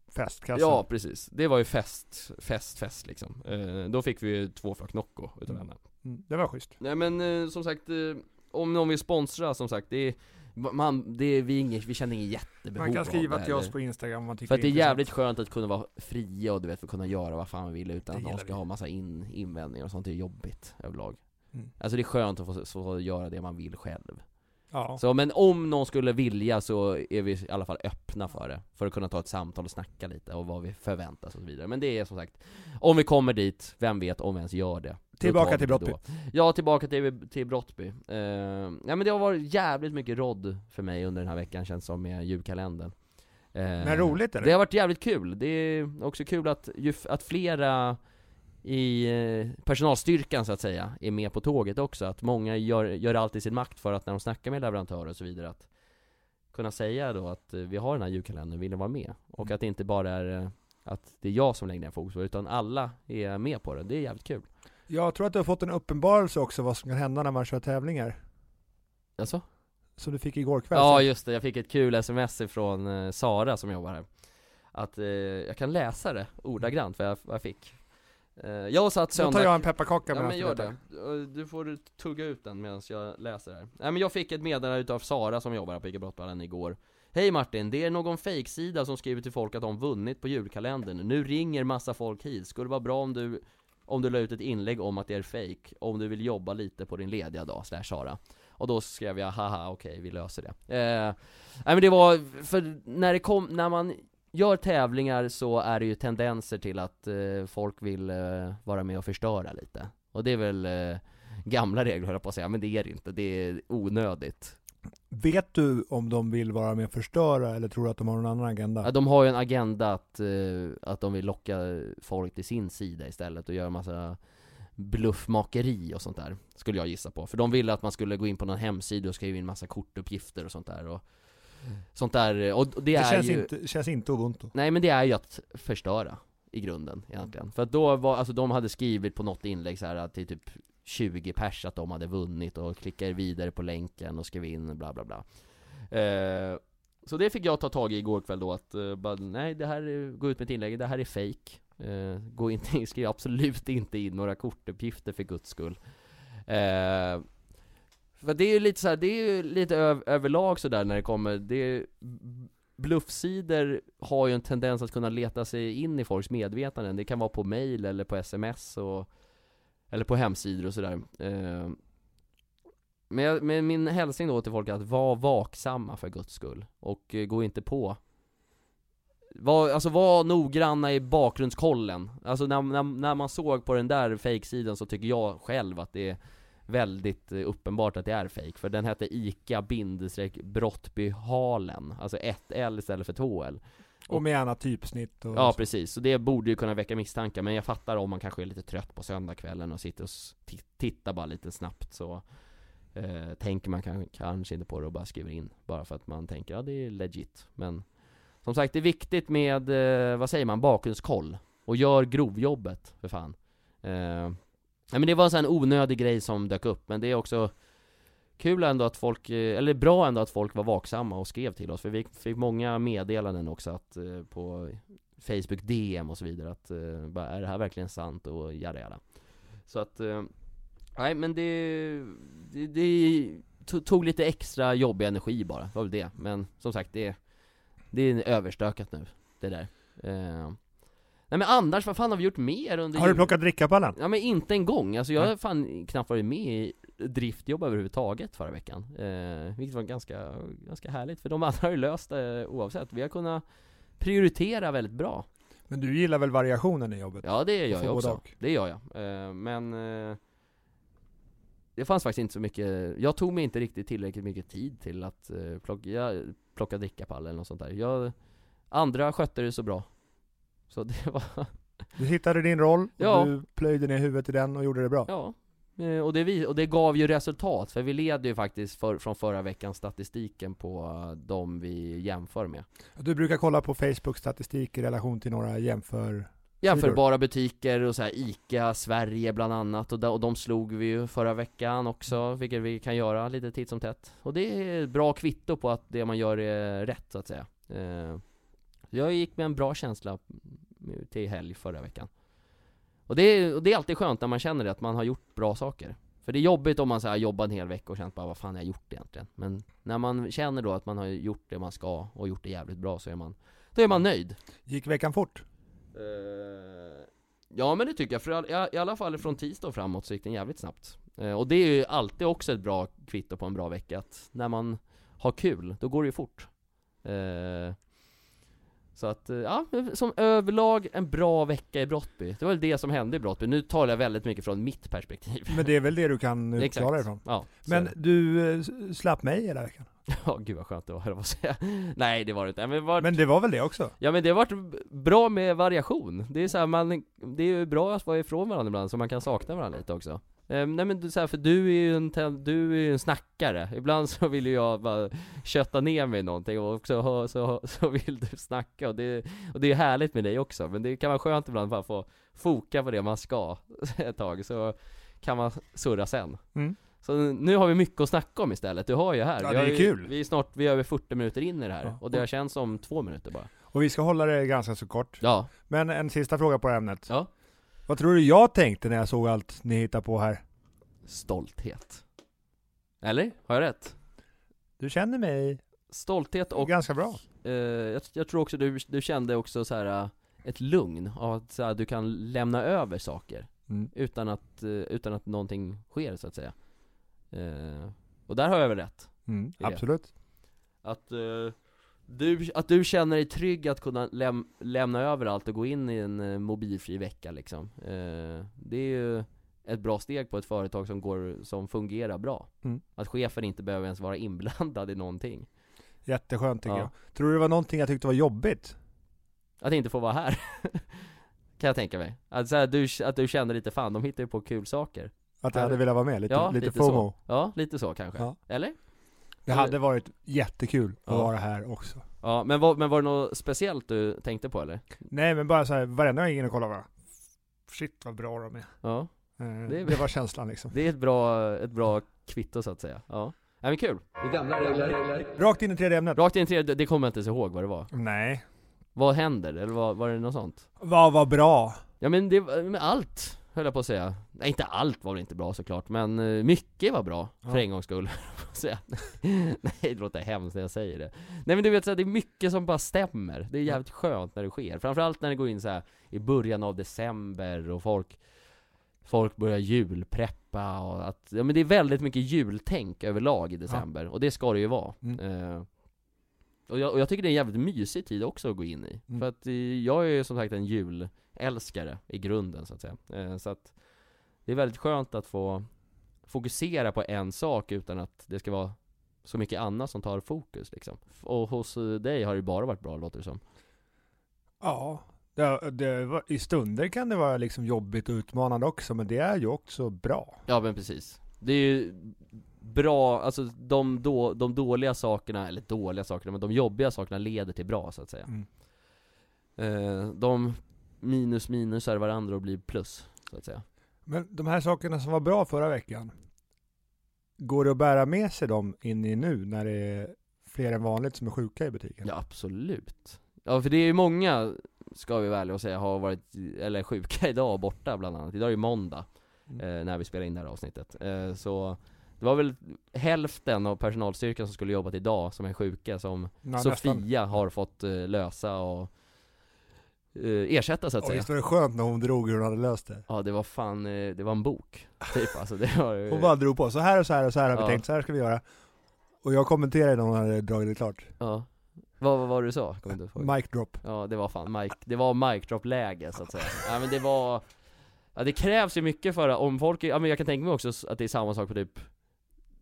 Speaker 2: festkassan.
Speaker 1: Ja, precis, det var ju fest, fest, fest liksom eh, Då fick vi ju två flak Nocco utav
Speaker 2: Mm.
Speaker 1: henne
Speaker 2: Mm, Det var schysst.
Speaker 1: Nej men eh, som sagt, eh, om någon vill sponsra som sagt, det är Man, det, är- vi, är inget, vi känner ingen jättebehov
Speaker 2: Man kan
Speaker 1: av
Speaker 2: skriva
Speaker 1: det
Speaker 2: till oss
Speaker 1: heller.
Speaker 2: på Instagram om man tycker
Speaker 1: För att det är
Speaker 2: intressant.
Speaker 1: jävligt skönt att kunna vara fria och du vet, för att kunna göra vad fan vi vill utan
Speaker 2: Det
Speaker 1: att någon
Speaker 2: gillar
Speaker 1: ska
Speaker 2: vi.
Speaker 1: ha massa in, invändningar och sånt, det är jobbigt överlag
Speaker 2: Mm.
Speaker 1: Alltså det är skönt att få, så, få göra det man vill själv
Speaker 2: Ja.
Speaker 1: Så men om någon skulle vilja så är vi i alla fall öppna för det För att kunna ta ett samtal och snacka lite och vad vi förväntas och så vidare Men det är som sagt Om vi kommer dit, vem vet om vi ens gör det Då
Speaker 2: Tillbaka
Speaker 1: tar vi
Speaker 2: till
Speaker 1: det
Speaker 2: Brottby.
Speaker 1: då. Ja, tillbaka till, till Brottby uh, Ja men det har varit jävligt mycket rodd för mig under den här veckan känns som med julkalendern Eh,
Speaker 2: Men roligt är det.
Speaker 1: det har varit jävligt kul, det är också kul att, ju f- att flera i eh, personalstyrkan så att säga, är med på tåget också, att många gör, gör allt i sin makt för att när de snackar med leverantörer och så vidare att kunna säga då att eh, vi har den här julkalendern, vill ni vara med? Och
Speaker 2: Mm.
Speaker 1: att det inte bara är eh, att det är jag som lägger ner fokus på det, utan alla är med på det, det är jävligt kul
Speaker 2: Jag tror att du har fått en uppenbarelse också vad som kan hända när man kör tävlingar.
Speaker 1: Alltså?
Speaker 2: Som du fick igår kväll.
Speaker 1: Ja just det, jag fick ett kul sms ifrån eh, Sara som jobbar här Att eh, jag kan läsa det ordagrant vad jag, vad jag fick Eh, Jag satt
Speaker 2: Då
Speaker 1: söndag
Speaker 2: tar jag en pepparkaka
Speaker 1: Ja
Speaker 2: medan
Speaker 1: men
Speaker 2: du
Speaker 1: gör
Speaker 2: letar.
Speaker 1: det, Eh, du får tugga ut den medan jag läser här Nej men jag fick ett meddelande utav Sara som jobbar här på Ica Brottballen igår Hej Martin, det är någon fejksida som skriver till folk att de vunnit på julkalendern Nu ringer massa folk hit, skulle vara bra om du om du la ut ett inlägg om att det är fake om du vill jobba lite på din lediga dag, slash Sara Och då skrev jag haha okej vi löser det eh, Nej men det var, för när det kom, när man gör tävlingar så är det ju tendenser till att eh, folk vill eh, vara med och förstöra lite Och det är väl eh, gamla regler höll jag på att säga, men det är det inte, det är onödigt
Speaker 2: Vet du om de vill vara med och förstöra eller tror du att de har någon annan agenda?
Speaker 1: Ja, de har ju en agenda att, eh, att de vill locka folk till sin sida istället och göra massa bluffmakeri och sånt där, skulle jag gissa på. För de ville att man skulle gå in på någon hemsida och skriva in massa kortuppgifter och sånt där och sånt där, och det,
Speaker 2: det
Speaker 1: är
Speaker 2: känns,
Speaker 1: ju...
Speaker 2: inte, känns inte ubuntu.
Speaker 1: Nej men det är ju att förstöra i grunden egentligen. För att då var, alltså de hade skrivit på något inlägg så här att det är typ 20 pers att de hade vunnit och klickade vidare på länken och skrev in bla bla bla. Eh, så det fick jag ta tag i igår kväll då att, eh, bara, nej det här, är- gå ut med ett inlägg, det här är fake. Eh, gå inte, skriv absolut inte in några kortuppgifter för guds skull. Eh, för det är ju lite så här, det är ju lite ö- överlag sådär när det kommer, det är, bluffsidor har ju en tendens att kunna leta sig in i folks medvetanden. Det kan vara på mail eller på sms och eller på hemsidor och sådär. Eh, Men, jag, men min hälsning då till folk är att var vaksamma för guds skull och eh, gå inte på var, alltså var noggranna i bakgrundskollen. Alltså när, när, när man såg på den där fejksidan så tycker jag själv att det är väldigt eh, uppenbart att det är fake För den hette ICA bindestreck Brottby Halen Alltså ett L istället för två L
Speaker 2: Och med gärna typsnitt och
Speaker 1: Ja precis, så det borde ju kunna väcka misstankar Men jag fattar om man kanske är lite trött på söndagskvällen och sitter och s- ti- tittar bara lite snabbt så eh, Tänker man kanske, kanske inte på det och bara skriver in Bara för att man tänker, ja det är legit Men som sagt, det är viktigt med, eh, vad säger man, bakgrundskoll Och gör grovjobbet, för fan eh, Nej men det var en sån här onödig grej som dök upp Men det är också Kul ändå att folk, eh, eller bra ändå att folk var vaksamma och skrev till oss För vi fick många meddelanden också att eh, på Facebook DM och så vidare att eh, bara, är det här verkligen sant och jada jada Så att, eh, nej men det, det, det to- tog lite extra jobbig energi bara, det var väl det Men som sagt det, det är överstökat nu, det där eh, Nej men annars, vad fan har vi gjort mer under
Speaker 2: Har du
Speaker 1: jul-
Speaker 2: plockat drickapallen?
Speaker 1: Ja men inte en gång, alltså jag
Speaker 2: Nej.
Speaker 1: har fan knappt varit med i driftjobb överhuvudtaget förra veckan eh, Vilket var ganska, ganska härligt, för de andra har ju löst det oavsett Vi har kunnat prioritera väldigt bra
Speaker 2: Men du gillar väl variationen i jobbet?
Speaker 1: Ja det gör
Speaker 2: får
Speaker 1: jag
Speaker 2: både
Speaker 1: också,
Speaker 2: Typ. och.
Speaker 1: det gör jag. Eh, Men eh, det fanns faktiskt inte så mycket, jag tog mig inte riktigt tillräckligt mycket tid till att eh, plocka, jag plockade drickapall eller något sånt där. Jag, andra skötte det så bra. Så det var,
Speaker 2: Du hittade din roll, och
Speaker 1: Ja.
Speaker 2: du plöjde ner huvudet i den och gjorde det bra.
Speaker 1: ja. Eh, Och det, vi, och det gav ju resultat, för vi leder ju faktiskt för, från förra veckan statistiken på eh, de vi jämför med.
Speaker 2: Du brukar kolla på Facebook statistik i relation till några jämför...
Speaker 1: Jämförbara butiker och så här ICA, Sverige bland annat och de, och de slog vi ju förra veckan också, vilket vi kan göra lite titt som tätt. Och det är ett bra kvitto på att det man gör är rätt så att säga. Eh, Jag gick med en bra känsla nu till helg förra veckan. Och det, är, och det är alltid skönt när man känner det, att man har gjort bra saker. För För det är jobbigt om man så här, jobbar en hel vecka och känner bara vad fan har jag gjort egentligen? Men när man känner då att man har gjort det man ska och gjort det jävligt bra så är man, då är man nöjd
Speaker 2: Gick veckan fort?
Speaker 1: Eh, Ja men det tycker jag, för all, ja, i alla fall från tisdag och framåt så gick den jävligt snabbt Eh, Och det är ju alltid också ett bra kvitto på en bra vecka, att när man har kul, då går det ju fort Eh, Så att, eh, ja, som överlag en bra vecka i Brottby Det var väl det som hände i Brottby, nu talar jag väldigt mycket från mitt perspektiv
Speaker 2: Men det är väl det du kan eh,
Speaker 1: Exakt.
Speaker 2: klara dig ifrån?
Speaker 1: Ja, så är
Speaker 2: Men
Speaker 1: det.
Speaker 2: du eh, s- slapp mig hela veckan?
Speaker 1: Ja gud vad skönt det var, höll jag på att säga Nej det var det inte, men, det var,
Speaker 2: Men det var väl det också?
Speaker 1: Ja men det har varit bra med variation, det är så här, man, det är ju bra att vara ifrån varandra ibland så man kan sakna varandra lite också Ehm, Nej men du- så här, för du är ju en, ten- du är ju en snackare, ibland så vill ju jag bara kötta ner mig i någonting och också ha- så, så vill du snacka och det, och det är härligt med dig också men det kan vara skönt ibland bara få foka på det man ska ett tag så kan man surra sen
Speaker 2: Mm.
Speaker 1: Så nu har vi mycket att snacka om istället, du har ju här
Speaker 2: Ja,
Speaker 1: Vi
Speaker 2: det är
Speaker 1: har ju-
Speaker 2: kul.
Speaker 1: Vi är snart, vi är över 40 minuter in i det här
Speaker 2: Ja.
Speaker 1: och det har känts som två minuter bara
Speaker 2: Och vi ska hålla det ganska så kort.
Speaker 1: Ja,
Speaker 2: Men en sista fråga på det här ämnet.
Speaker 1: Ja.
Speaker 2: Vad tror du jag tänkte när jag såg allt ni hittar på här?
Speaker 1: Stolthet. Eller? Har jag rätt?
Speaker 2: Du känner mig
Speaker 1: Stolthet och,
Speaker 2: ganska bra.
Speaker 1: eh, jag, jag tror också du, du kände också så här eh, ett lugn av att så här, du kan lämna över saker
Speaker 2: Mm.
Speaker 1: utan att, eh, utan att någonting sker så att säga. Eh, och där har jag väl rätt?
Speaker 2: Mm,
Speaker 1: det.
Speaker 2: absolut.
Speaker 1: Att, eh, du, att du känner dig trygg att kunna läm, lämna över allt och gå in i en eh, mobilfri vecka liksom. Eh, det är ju ett bra steg på ett företag som, går, som fungerar bra.
Speaker 2: Mm.
Speaker 1: Att chefen inte behöver ens vara inblandad i någonting.
Speaker 2: Jätteskönt tycker
Speaker 1: Ja.
Speaker 2: jag. Tror du det var någonting jag tyckte var jobbigt?
Speaker 1: Att inte få vara här. kan jag tänka mig. Att, så här, du, att du känner lite fan, de hittar ju på kul saker.
Speaker 2: Att jag
Speaker 1: Ja.
Speaker 2: hade velat vara med? Lite,
Speaker 1: Ja,
Speaker 2: lite,
Speaker 1: lite så.
Speaker 2: FOMO?
Speaker 1: Ja, lite så kanske.
Speaker 2: Ja.
Speaker 1: Eller?
Speaker 2: Det hade varit jättekul att
Speaker 1: Ja.
Speaker 2: vara här också.
Speaker 1: Ja, men var, men var det något speciellt du tänkte på eller?
Speaker 2: Nej men bara så här, varenda gång jag gick in och kollade bara, Shit vad bra de är.
Speaker 1: Ja,
Speaker 2: Eh,
Speaker 1: Det är-
Speaker 2: det var känslan liksom.
Speaker 1: det är ett bra, ett bra kvitto så att säga. Ja. Nej men kul.
Speaker 3: I gamla regler.
Speaker 2: Rakt in i tredje ämnet.
Speaker 1: Rakt in till det, det kommer jag inte ens ihåg vad det var.
Speaker 2: Nej.
Speaker 1: Vad händer? Eller var, var det något sånt?
Speaker 2: Vad var bra?
Speaker 1: Ja men det var, men allt, höll jag på att säga. Nej inte allt var väl inte bra såklart, men eh, mycket var bra. För
Speaker 2: Ja.
Speaker 1: en gångs skull, höll jag på att säga. Nej det låter hemskt när jag säger det. Nej men du vet så här, det är mycket som bara stämmer. Det är jävligt skönt när det sker. Framförallt när det går in så här i början av december och folk Folk börjar julpreppa och att, ja men det är väldigt mycket jultänk överlag i december, och det ska det ju vara
Speaker 2: Mm.
Speaker 1: Eh, och, jag, och jag tycker det är en jävligt mysig tid också att gå in i,
Speaker 2: Mm.
Speaker 1: för att eh, jag är ju som sagt en julälskare i grunden så att säga Eh, Så att det är väldigt skönt att få fokusera på en sak utan att det ska vara så mycket annat som tar fokus liksom Och hos eh, dig har det bara varit bra låter det som
Speaker 2: Ja, det, det var, i stunder kan det vara liksom jobbigt och utmanande också, men det är ju också bra.
Speaker 1: Ja men precis. Det är ju bra, alltså de, då, de dåliga sakerna, eller dåliga sakerna, men de jobbiga sakerna leder till bra så att säga.
Speaker 2: Mm.
Speaker 1: Eh, de minus minus är varandra och blir plus, så att säga.
Speaker 2: Men de här sakerna som var bra förra veckan, går det att bära med sig dem in i nu när det är fler än vanligt som är sjuka i butiken?
Speaker 1: Ja absolut. Ja för det är ju många, ska vi väl och säga, har varit, eller sjuka idag och borta bland annat. Idag är ju måndag,
Speaker 2: Mm.
Speaker 1: eh, när vi spelar in det här avsnittet. Eh, så det var väl hälften av personalstyrkan som skulle jobbat idag som är sjuka som
Speaker 2: Ja, nästan.
Speaker 1: Sofia har fått eh, lösa och eh, ersätta så att
Speaker 2: Och
Speaker 1: säga
Speaker 2: visst var det skönt när hon drog hur hon hade löst det?
Speaker 1: Ja det var fan, eh, det var en bok typ alltså det var ju-
Speaker 2: Hon bara drog på, så här och så här och så här har vi
Speaker 1: Ja.
Speaker 2: tänkt, så här ska vi göra. Och jag kommenterade när hon hade dragit det klart.
Speaker 1: Ja Vad vad var det du sa? Kommer inte ihåg
Speaker 2: Mic drop.
Speaker 1: Ja det var fan Mike, det var mic drop läge så att säga Ja men det var Ja det krävs ju mycket för att- om folk, ja men jag kan tänka mig också s- att det är samma sak på typ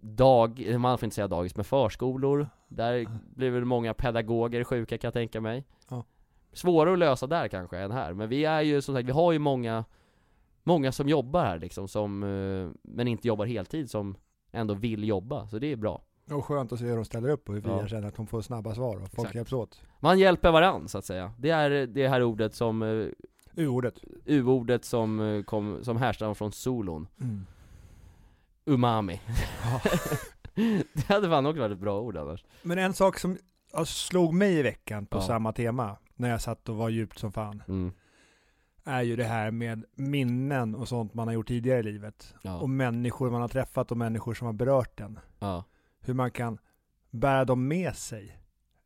Speaker 1: Dag, man får inte säga dagis, men förskolor Där blir väl många pedagoger sjuka kan jag tänka mig
Speaker 2: Ja.
Speaker 1: Svårare att lösa där kanske än här, men vi är ju som sagt, vi har ju många Många som jobbar här liksom, som, eh, men inte jobbar heltid, som ändå vill jobba, så det är bra
Speaker 2: Och skönt att se hur hon ställer upp och hur vi
Speaker 1: Ja.
Speaker 2: känner att hon får snabba svar och folk
Speaker 1: Exakt.
Speaker 2: hjälps åt.
Speaker 1: Man hjälper varann så att säga, det är det här ordet som eh,
Speaker 2: U-ordet.
Speaker 1: U-ordet som, eh, kom, som härstammar från solon,
Speaker 2: Mm.
Speaker 1: umami
Speaker 2: Ja.
Speaker 1: Det hade fan också varit ett bra ord annars
Speaker 2: Men en sak som ja, slog mig i veckan på
Speaker 1: Ja. Mm.
Speaker 2: samma tema, när jag satt och var djupt som fan, är ju det här med minnen och sånt man har gjort tidigare i livet. Och
Speaker 1: Ja,
Speaker 2: människor man har träffat och människor som har berört den.
Speaker 1: ja,
Speaker 2: Hur man kan bära dem med sig.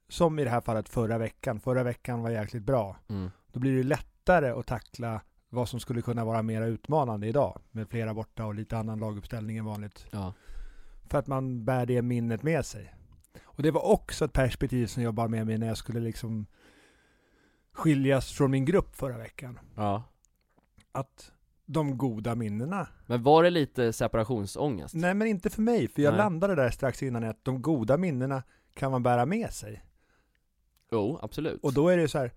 Speaker 2: Som i det här fallet förra veckan. Förra veckan var jäkligt bra.
Speaker 1: mm,
Speaker 2: Då blir det lättare att tackla vad som skulle kunna vara mera utmanande idag. Med flera borta och lite annan laguppställning än vanligt.
Speaker 1: ja,
Speaker 2: För att man bär det minnet med sig. Och det var också ett perspektiv som jag bar med mig när jag skulle liksom skiljas från min grupp förra veckan.
Speaker 1: ja.
Speaker 2: Att de goda minnena,
Speaker 1: Men var det lite separationsångest?
Speaker 2: nej men inte för mig, för jag
Speaker 1: Nej.
Speaker 2: landade där strax innan i att de goda minnena kan man bära med sig.
Speaker 1: Jo, absolut.
Speaker 2: Och då är det ju så här,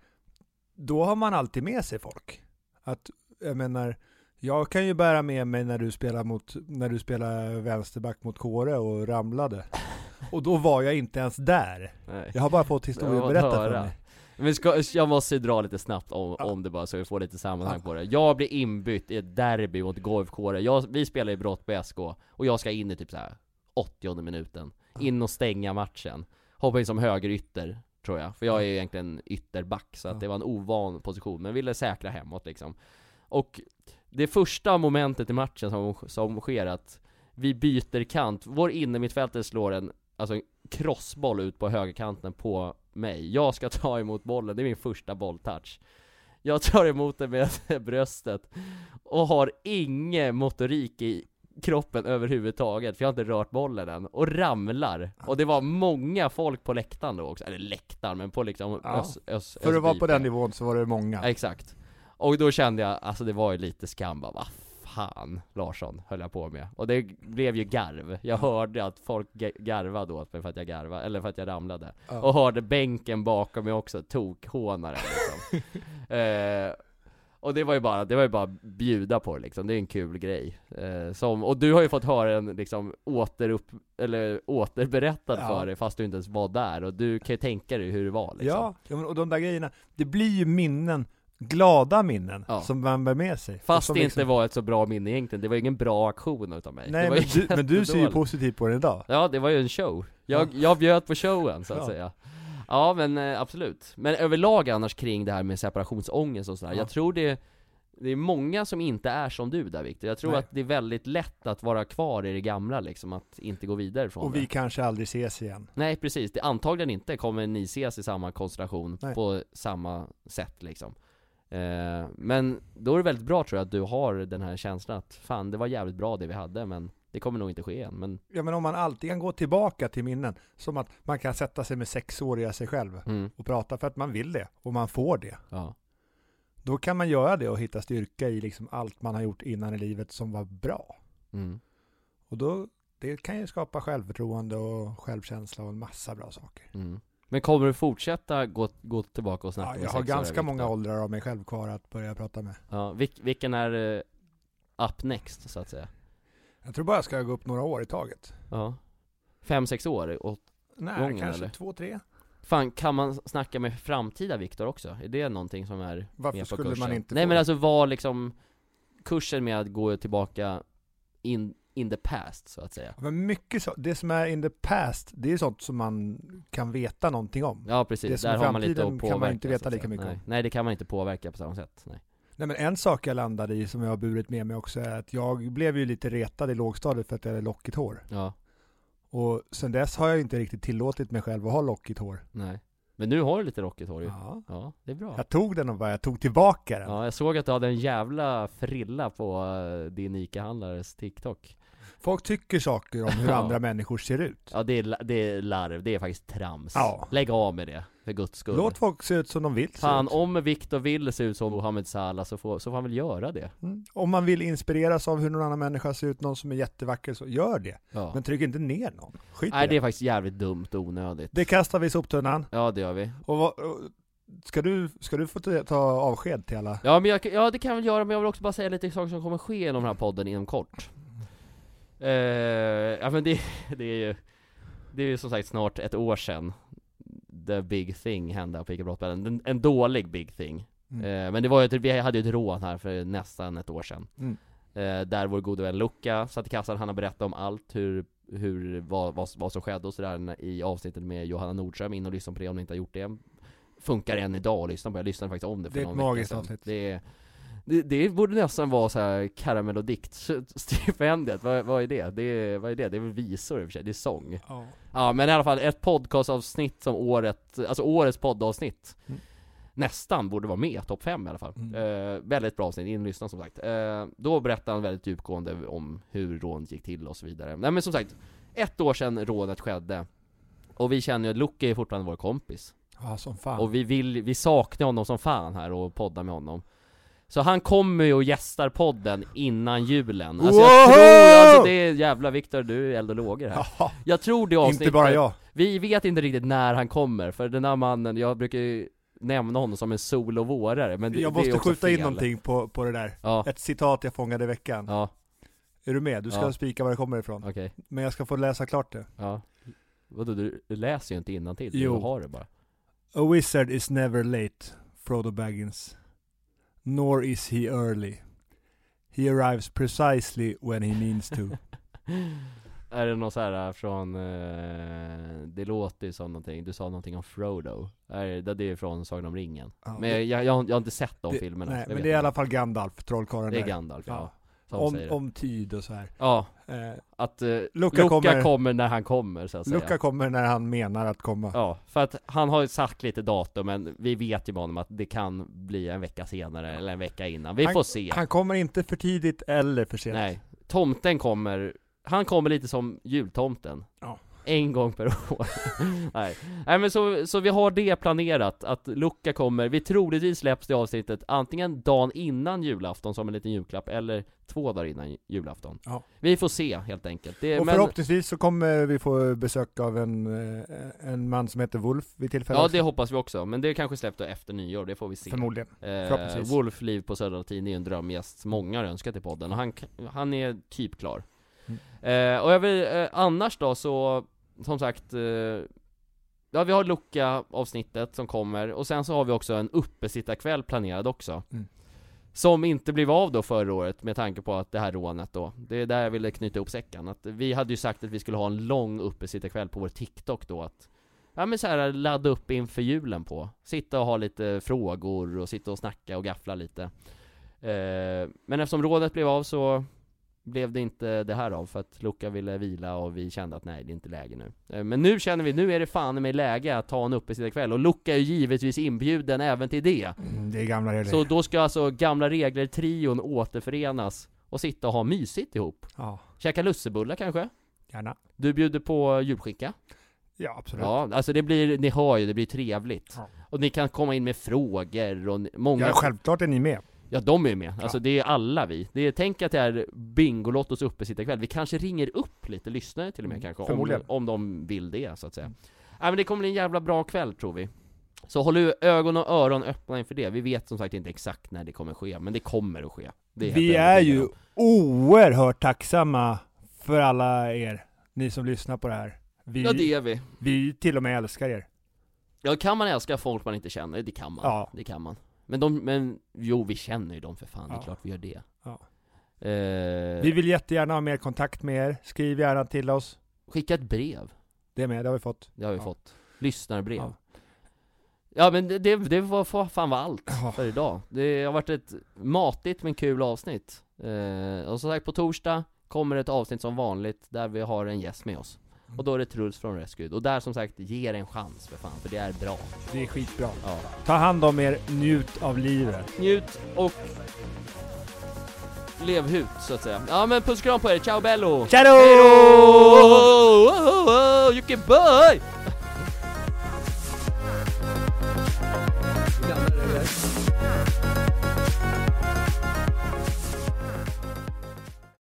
Speaker 2: då har man alltid med sig folk. Att, jag menar, jag kan ju bära med mig när du spelar mot, när du spelar vänsterback mot Kåre och ramlade. Och då var jag inte ens där.
Speaker 1: Nej.
Speaker 2: Jag har bara fått
Speaker 1: Det
Speaker 2: historien
Speaker 1: var
Speaker 2: berättad för
Speaker 1: höra.
Speaker 2: mig.
Speaker 1: Men ska, jag måste dra lite snabbt om,
Speaker 2: Ja.
Speaker 1: om det bara så vi får lite sammanhang
Speaker 2: Ja.
Speaker 1: på det Jag blir inbytt i ett derby mot GoIF Kåre. Jag- Vi spelar i Brottby SK och jag ska in i typ så här 80 minuten In och stänga matchen Hoppa in som högerytter tror jag, för jag är ju egentligen ytterback så att
Speaker 2: Ja.
Speaker 1: det var en ovan position men ville säkra hemåt liksom Och det första momentet i matchen som, som sker är att vi byter kant, vår innermittfältare slår en, alltså en crossboll ut på högerkanten på mig. Jag ska ta emot bollen, det är min första bolltouch. Jag tar emot den med bröstet och har ingen motorik i kroppen överhuvudtaget, för jag har inte rört bollen än, och ramlar. Och det var många folk på läktaren då också, eller läktaren, men på liksom
Speaker 2: Ja.
Speaker 1: ös, ös,
Speaker 2: För att vara på
Speaker 1: Ösbypen.
Speaker 2: den nivån så var det många.
Speaker 1: Exakt. Och då kände jag, alltså det var ju lite skam bara, vad fan Larsson höll jag på med. Och det blev ju garv. Jag hörde att folk ga- garvade åt mig för att jag garvade, eller för att jag ramlade.
Speaker 2: Ja.
Speaker 1: Och hörde bänken bakom mig också tokhånaren liksom. eh, och det var ju bara, det var ju bara bjuda på det, liksom, det är en kul grej. Eh, som, och du har ju fått höra den liksom återupp, eller återberättad
Speaker 2: Ja.
Speaker 1: för dig fast du inte ens var där, och du kan ju tänka dig hur det var liksom.
Speaker 2: Ja, ja, men- och de där grejerna, det blir ju minnen, glada minnen,
Speaker 1: Ja.
Speaker 2: som man bär med sig. Och
Speaker 1: Fast
Speaker 2: som
Speaker 1: det inte
Speaker 2: liksom-
Speaker 1: var ett så bra minne egentligen, det var ju ingen bra aktion utav mig det
Speaker 2: Nej,
Speaker 1: var
Speaker 2: men
Speaker 1: ju
Speaker 2: du, men du ser ju
Speaker 1: jättedåligt.
Speaker 2: positivt på den idag.
Speaker 1: Ja, det var ju en show Jag, jag bjöd på showen så att
Speaker 2: Ja.
Speaker 1: säga Ja men eh, absolut, men överlag annars kring det här med separationsångest och sådär
Speaker 2: Ja.
Speaker 1: Jag tror det det är många som inte är som du där Viktor, jag tror
Speaker 2: Nej.
Speaker 1: att det är väldigt lätt att vara kvar i det gamla liksom, att inte gå vidare från
Speaker 2: Och
Speaker 1: det
Speaker 2: vi kanske aldrig ses igen.
Speaker 1: Nej precis, det, antagligen inte kommer ni ses i samma konstellation
Speaker 2: Nej.
Speaker 1: på samma sätt liksom eh, Men då är det väldigt bra tror jag att du har den här känslan att fan det var jävligt bra det vi hade men det kommer nog inte ske igen men
Speaker 2: Ja, men om man alltid kan gå tillbaka till minnen, som att man kan sätta sig med sexåriga sig själv
Speaker 1: mm,
Speaker 2: och prata för att man vill det, och man får det.
Speaker 1: ja.
Speaker 2: Då kan man göra det och hitta styrka i liksom allt man har gjort innan i livet som var bra.
Speaker 1: Mm.
Speaker 2: Och då, det kan ju skapa självförtroende och självkänsla och en massa bra saker.
Speaker 1: Mm. Men kommer du fortsätta gå, gå tillbaka och snacka
Speaker 2: Ja,
Speaker 1: med
Speaker 2: jag har
Speaker 1: sexåriga
Speaker 2: ganska
Speaker 1: Viktor?
Speaker 2: många åldrar av mig själv kvar att börja prata med.
Speaker 1: ja, vilk, Vilken är eh, up next så att säga?
Speaker 2: Jag tror bara jag ska gå upp några år i taget.
Speaker 1: Ja Fem, sex år? Och,
Speaker 2: Nej,
Speaker 1: Gången,
Speaker 2: kanske
Speaker 1: eller?
Speaker 2: två, tre.
Speaker 1: fan, kan man snacka med framtida Viktor också? Är det någonting som är
Speaker 2: Varför
Speaker 1: med på
Speaker 2: skulle
Speaker 1: kursen.
Speaker 2: man inte
Speaker 1: Nej
Speaker 2: få
Speaker 1: men
Speaker 2: det?
Speaker 1: alltså var liksom kursen med att gå tillbaka in, in the past så att säga
Speaker 2: Men mycket så, det som är in the past, det är sånt som man kan veta någonting om.
Speaker 1: Ja precis,
Speaker 2: Det som
Speaker 1: där
Speaker 2: är
Speaker 1: har man lite att
Speaker 2: framtiden
Speaker 1: påverka
Speaker 2: kan man inte veta
Speaker 1: så att
Speaker 2: lika
Speaker 1: säga.
Speaker 2: mycket
Speaker 1: nej.
Speaker 2: om.
Speaker 1: nej det kan man inte påverka på samma sätt, nej
Speaker 2: Nej men en sak jag landade i som jag har burit med mig också är att jag blev ju lite retad i lågstadiet för att jag hade lockigt hår.
Speaker 1: Ja,
Speaker 2: Och sen dess har jag inte riktigt tillåtit mig själv att ha lockigt hår.
Speaker 1: nej Men nu har du lite rockigt hår ju Ja,
Speaker 2: Ja.
Speaker 1: det är bra
Speaker 2: Jag tog den och bara, jag tog tillbaka den.
Speaker 1: Ja, jag såg att du hade en jävla frilla på eh, din ICA-handlares TikTok
Speaker 2: Folk tycker saker om hur
Speaker 1: Ja.
Speaker 2: andra människor ser ut.
Speaker 1: Ja det är, la- det är larv, det är faktiskt trams
Speaker 2: Ja.
Speaker 1: Lägg av med det, för guds skull
Speaker 2: Låt folk se ut som de vill se
Speaker 1: Fan,
Speaker 2: ut.
Speaker 1: om Viktor vill se ut som Mohammed Salah så får, så får han väl göra det
Speaker 2: Mm. Om man vill inspireras av hur någon annan människa ser ut, någon som är jättevacker, så gör det.
Speaker 1: ja.
Speaker 2: Men tryck inte ner någon. Skit
Speaker 1: Nej
Speaker 2: i
Speaker 1: det
Speaker 2: det.
Speaker 1: är faktiskt jävligt dumt och onödigt
Speaker 2: Det kastar vi i soptunnan.
Speaker 1: Ja det gör vi
Speaker 2: Och vad, och ska, du, ska du få ta ta avsked till alla?
Speaker 1: Ja men jag, ja, det kan jag väl göra, men jag vill också bara säga lite saker som kommer ske inom den här podden inom kort eh, Ja men det, det är ju Det är ju som sagt snart ett år sedan The big thing hände på ICA Brottbällen, en, en dålig big thing
Speaker 2: Mm.
Speaker 1: eh, Men det var ju, ett- vi hade ju ett rån här för nästan ett år sedan
Speaker 2: Mm.
Speaker 1: eh, Där vår gode vän Luca satt i kassan, han har berättat om allt hur hur, vad, vad, vad som skedde och sådär i avsnittet med Johanna Nordström, in och lyssna på det om ni inte har gjort det Funkar än idag att lyssna på, jag lyssnade faktiskt om det för
Speaker 2: Det är
Speaker 1: någon
Speaker 2: ett
Speaker 1: vecka
Speaker 2: magiskt
Speaker 1: sedan
Speaker 2: avsnitt.
Speaker 1: Det är Det, det borde nästan vara så här karamell och diktstipendiet, vad, vad är det? det? är- Vad är det? Det är väl visor i och för sig, det är sång
Speaker 2: Ja.
Speaker 1: Ja men i alla fall, ett podcastavsnitt som året, alltså årets poddavsnitt
Speaker 2: Mm.
Speaker 1: Nästan borde vara med, topp 5 i alla fall.
Speaker 2: Mm.
Speaker 1: Eh, väldigt bra avsnitt, inlyssna som sagt. Eh, då berättar han väldigt djupgående om hur rånet gick till och så vidare. Nej men som sagt, ett år sedan rånet skedde. Och vi känner ju att Lucky är fortfarande vår kompis.
Speaker 2: ja, som fan.
Speaker 1: Och vi vill, vi saknar honom som fan här och poddar med honom Så han kommer ju och gästar podden innan julen Alltså jag
Speaker 2: Woho!
Speaker 1: tror, alltså det är jävla Viktor, du är eld och lågor här
Speaker 2: Jaha,
Speaker 1: Jag tror det avsnittet,
Speaker 2: inte bara jag.
Speaker 1: vi vet inte riktigt när han kommer För den här mannen, jag brukar ju nämna honom som en sol och vårare men det,
Speaker 2: Jag
Speaker 1: det är
Speaker 2: måste
Speaker 1: också
Speaker 2: skjuta in
Speaker 1: fel.
Speaker 2: någonting på, på det där.
Speaker 1: Ja,
Speaker 2: Ett citat jag fångade i veckan.
Speaker 1: ja,
Speaker 2: Är du med? Du ska
Speaker 1: Ja.
Speaker 2: spika var det kommer ifrån.
Speaker 1: okej,
Speaker 2: Men jag ska få läsa klart det.
Speaker 1: ja Vadå, du läser ju inte innantill,
Speaker 2: Jo.
Speaker 1: du har det bara
Speaker 2: A wizard is never late, Frodo Baggins. Nor is he early. He arrives precisely when he means to.
Speaker 1: Är det någon så här äh, från, eh, det låter ju som någonting, du sa någonting om Frodo Är det, det är från Sagan om ringen
Speaker 2: Ja,
Speaker 1: Men jag, jag, jag, har- jag har inte sett de
Speaker 2: det-
Speaker 1: filmerna
Speaker 2: Nej,
Speaker 1: jag
Speaker 2: men
Speaker 1: vet
Speaker 2: det är i
Speaker 1: inte.
Speaker 2: alla fall Gandalf, trollkarlen
Speaker 1: Det är
Speaker 2: där.
Speaker 1: Gandalf ja, som
Speaker 2: Om,
Speaker 1: säger det.
Speaker 2: om tid och så här.
Speaker 1: Ja,
Speaker 2: Eh,
Speaker 1: att eh,
Speaker 2: Luca
Speaker 1: Luca
Speaker 2: kommer-
Speaker 1: kommer... när han kommer så att
Speaker 2: Luca
Speaker 1: säga
Speaker 2: kommer när han menar att komma.
Speaker 1: Ja, för att han har ju sagt lite datum men vi vet ju med honom att det kan bli en vecka senare eller en vecka innan, vi
Speaker 2: Han-
Speaker 1: får se
Speaker 2: Han kommer inte för tidigt eller för sent.
Speaker 1: Nej, tomten kommer, han kommer lite som jultomten
Speaker 2: Ja.
Speaker 1: En gång per år Nej, Nej men så, så vi har det planerat, att Luca kommer, vi troligtvis släpps det avsnittet antingen dagen innan julafton som en liten julklapp, eller två dagar innan julafton
Speaker 2: Ja.
Speaker 1: Vi får se helt enkelt, det,
Speaker 2: Och
Speaker 1: men,
Speaker 2: förhoppningsvis så kommer vi få besök av en, eh, en man som heter Wolf vid tillfället.
Speaker 1: Ja det hoppas vi också, men det kanske släpps då efter nyår, det får vi se
Speaker 2: Förmodligen.
Speaker 1: eh,
Speaker 2: förhoppningsvis.
Speaker 1: Wolf Liv på Södra Latin är ju en drömgäst många har önskat i podden och han, han är typ klar
Speaker 2: Mm.
Speaker 1: eh, Och jag vill, eh, annars då så, som sagt eh, Ja vi har lucka avsnittet som kommer och sen så har vi också en uppesittarkväll planerad också
Speaker 2: Mm.
Speaker 1: Som inte blev av då förra året med tanke på att det här rånet då Det är där jag ville knyta ihop säcken att Vi hade ju sagt att vi skulle ha en lång uppesittarkväll på vår TikTok då att Ja men så här ladda upp inför julen på Sitta och ha lite frågor och sitta och snacka och gaffla lite eh, Men eftersom rådet blev av så blev det inte det här av för att Luca ville vila och vi kände att nej det är inte läge nu eh, Men nu känner vi, nu är det fan med läge att ta en uppesittarkväll och Luca är ju givetvis inbjuden även till det
Speaker 2: Mm, Det är gamla regler.
Speaker 1: Så då ska alltså gamla regler-trion återförenas och sitta och ha mysigt ihop
Speaker 2: Ja,
Speaker 1: Käka lussebullar kanske?
Speaker 2: gärna.
Speaker 1: Du bjuder på julskinka?
Speaker 2: Ja, absolut.
Speaker 1: Ja, alltså det blir, ni hör ju, det blir trevligt.
Speaker 2: Ja.
Speaker 1: Och ni kan komma in med frågor och ni- många...
Speaker 2: Ja, självklart är ni med.
Speaker 1: Ja, de är ju med. Alltså
Speaker 2: Ja.
Speaker 1: det är alla vi. Det är, tänk att det är Bingolottos uppesittarkväll. Vi kanske ringer upp lite lyssnare till och med
Speaker 2: Mm,
Speaker 1: kanske, om,
Speaker 2: förmodligen.
Speaker 1: om de vill det så att säga. Nej men det kommer bli en jävla bra kväll tror vi. Så håll ju ögon och öron öppna inför det. Vi vet som sagt inte exakt när det kommer ske, men det kommer att ske. Det helt
Speaker 2: Vi är
Speaker 1: övertygad
Speaker 2: ju
Speaker 1: om.
Speaker 2: oerhört tacksamma för alla er, ni som lyssnar på det här. Vi,
Speaker 1: Ja det är Eh. vi.
Speaker 2: vi till och med älskar er.
Speaker 1: Ja, kan man älska folk man inte känner? Det kan man.
Speaker 2: Ja.
Speaker 1: Det kan man. Men de, men jo vi känner ju dem för fan, det
Speaker 2: Ja.
Speaker 1: är klart vi gör det.
Speaker 2: Ja.
Speaker 1: Eh,
Speaker 2: Vi vill jättegärna ha mer kontakt med er. Skriv gärna till oss.
Speaker 1: Skicka ett brev,
Speaker 2: Det med, det har vi fått.
Speaker 1: det har vi
Speaker 2: Ja.
Speaker 1: fått. Lyssnarbrev.
Speaker 2: Ja.
Speaker 1: Ja. men det, det, det var fa- fan var allt
Speaker 2: Ja.
Speaker 1: för idag. Det har varit ett matigt men kul avsnitt. Eh, och som sagt på torsdag kommer ett avsnitt som vanligt där vi har en gäst med oss. Och då är det Truls från Rescued. Och där som sagt, ge det en chans för fan, för det är bra.
Speaker 2: Det är skitbra.
Speaker 1: Ja.
Speaker 2: Ta hand om er, njut av livet.
Speaker 1: Njut och lev hut så att säga. Ja men puss och kram på er, ciao bello!
Speaker 2: Tja då!
Speaker 1: Hej då! Oh, oh, oh, you can buy!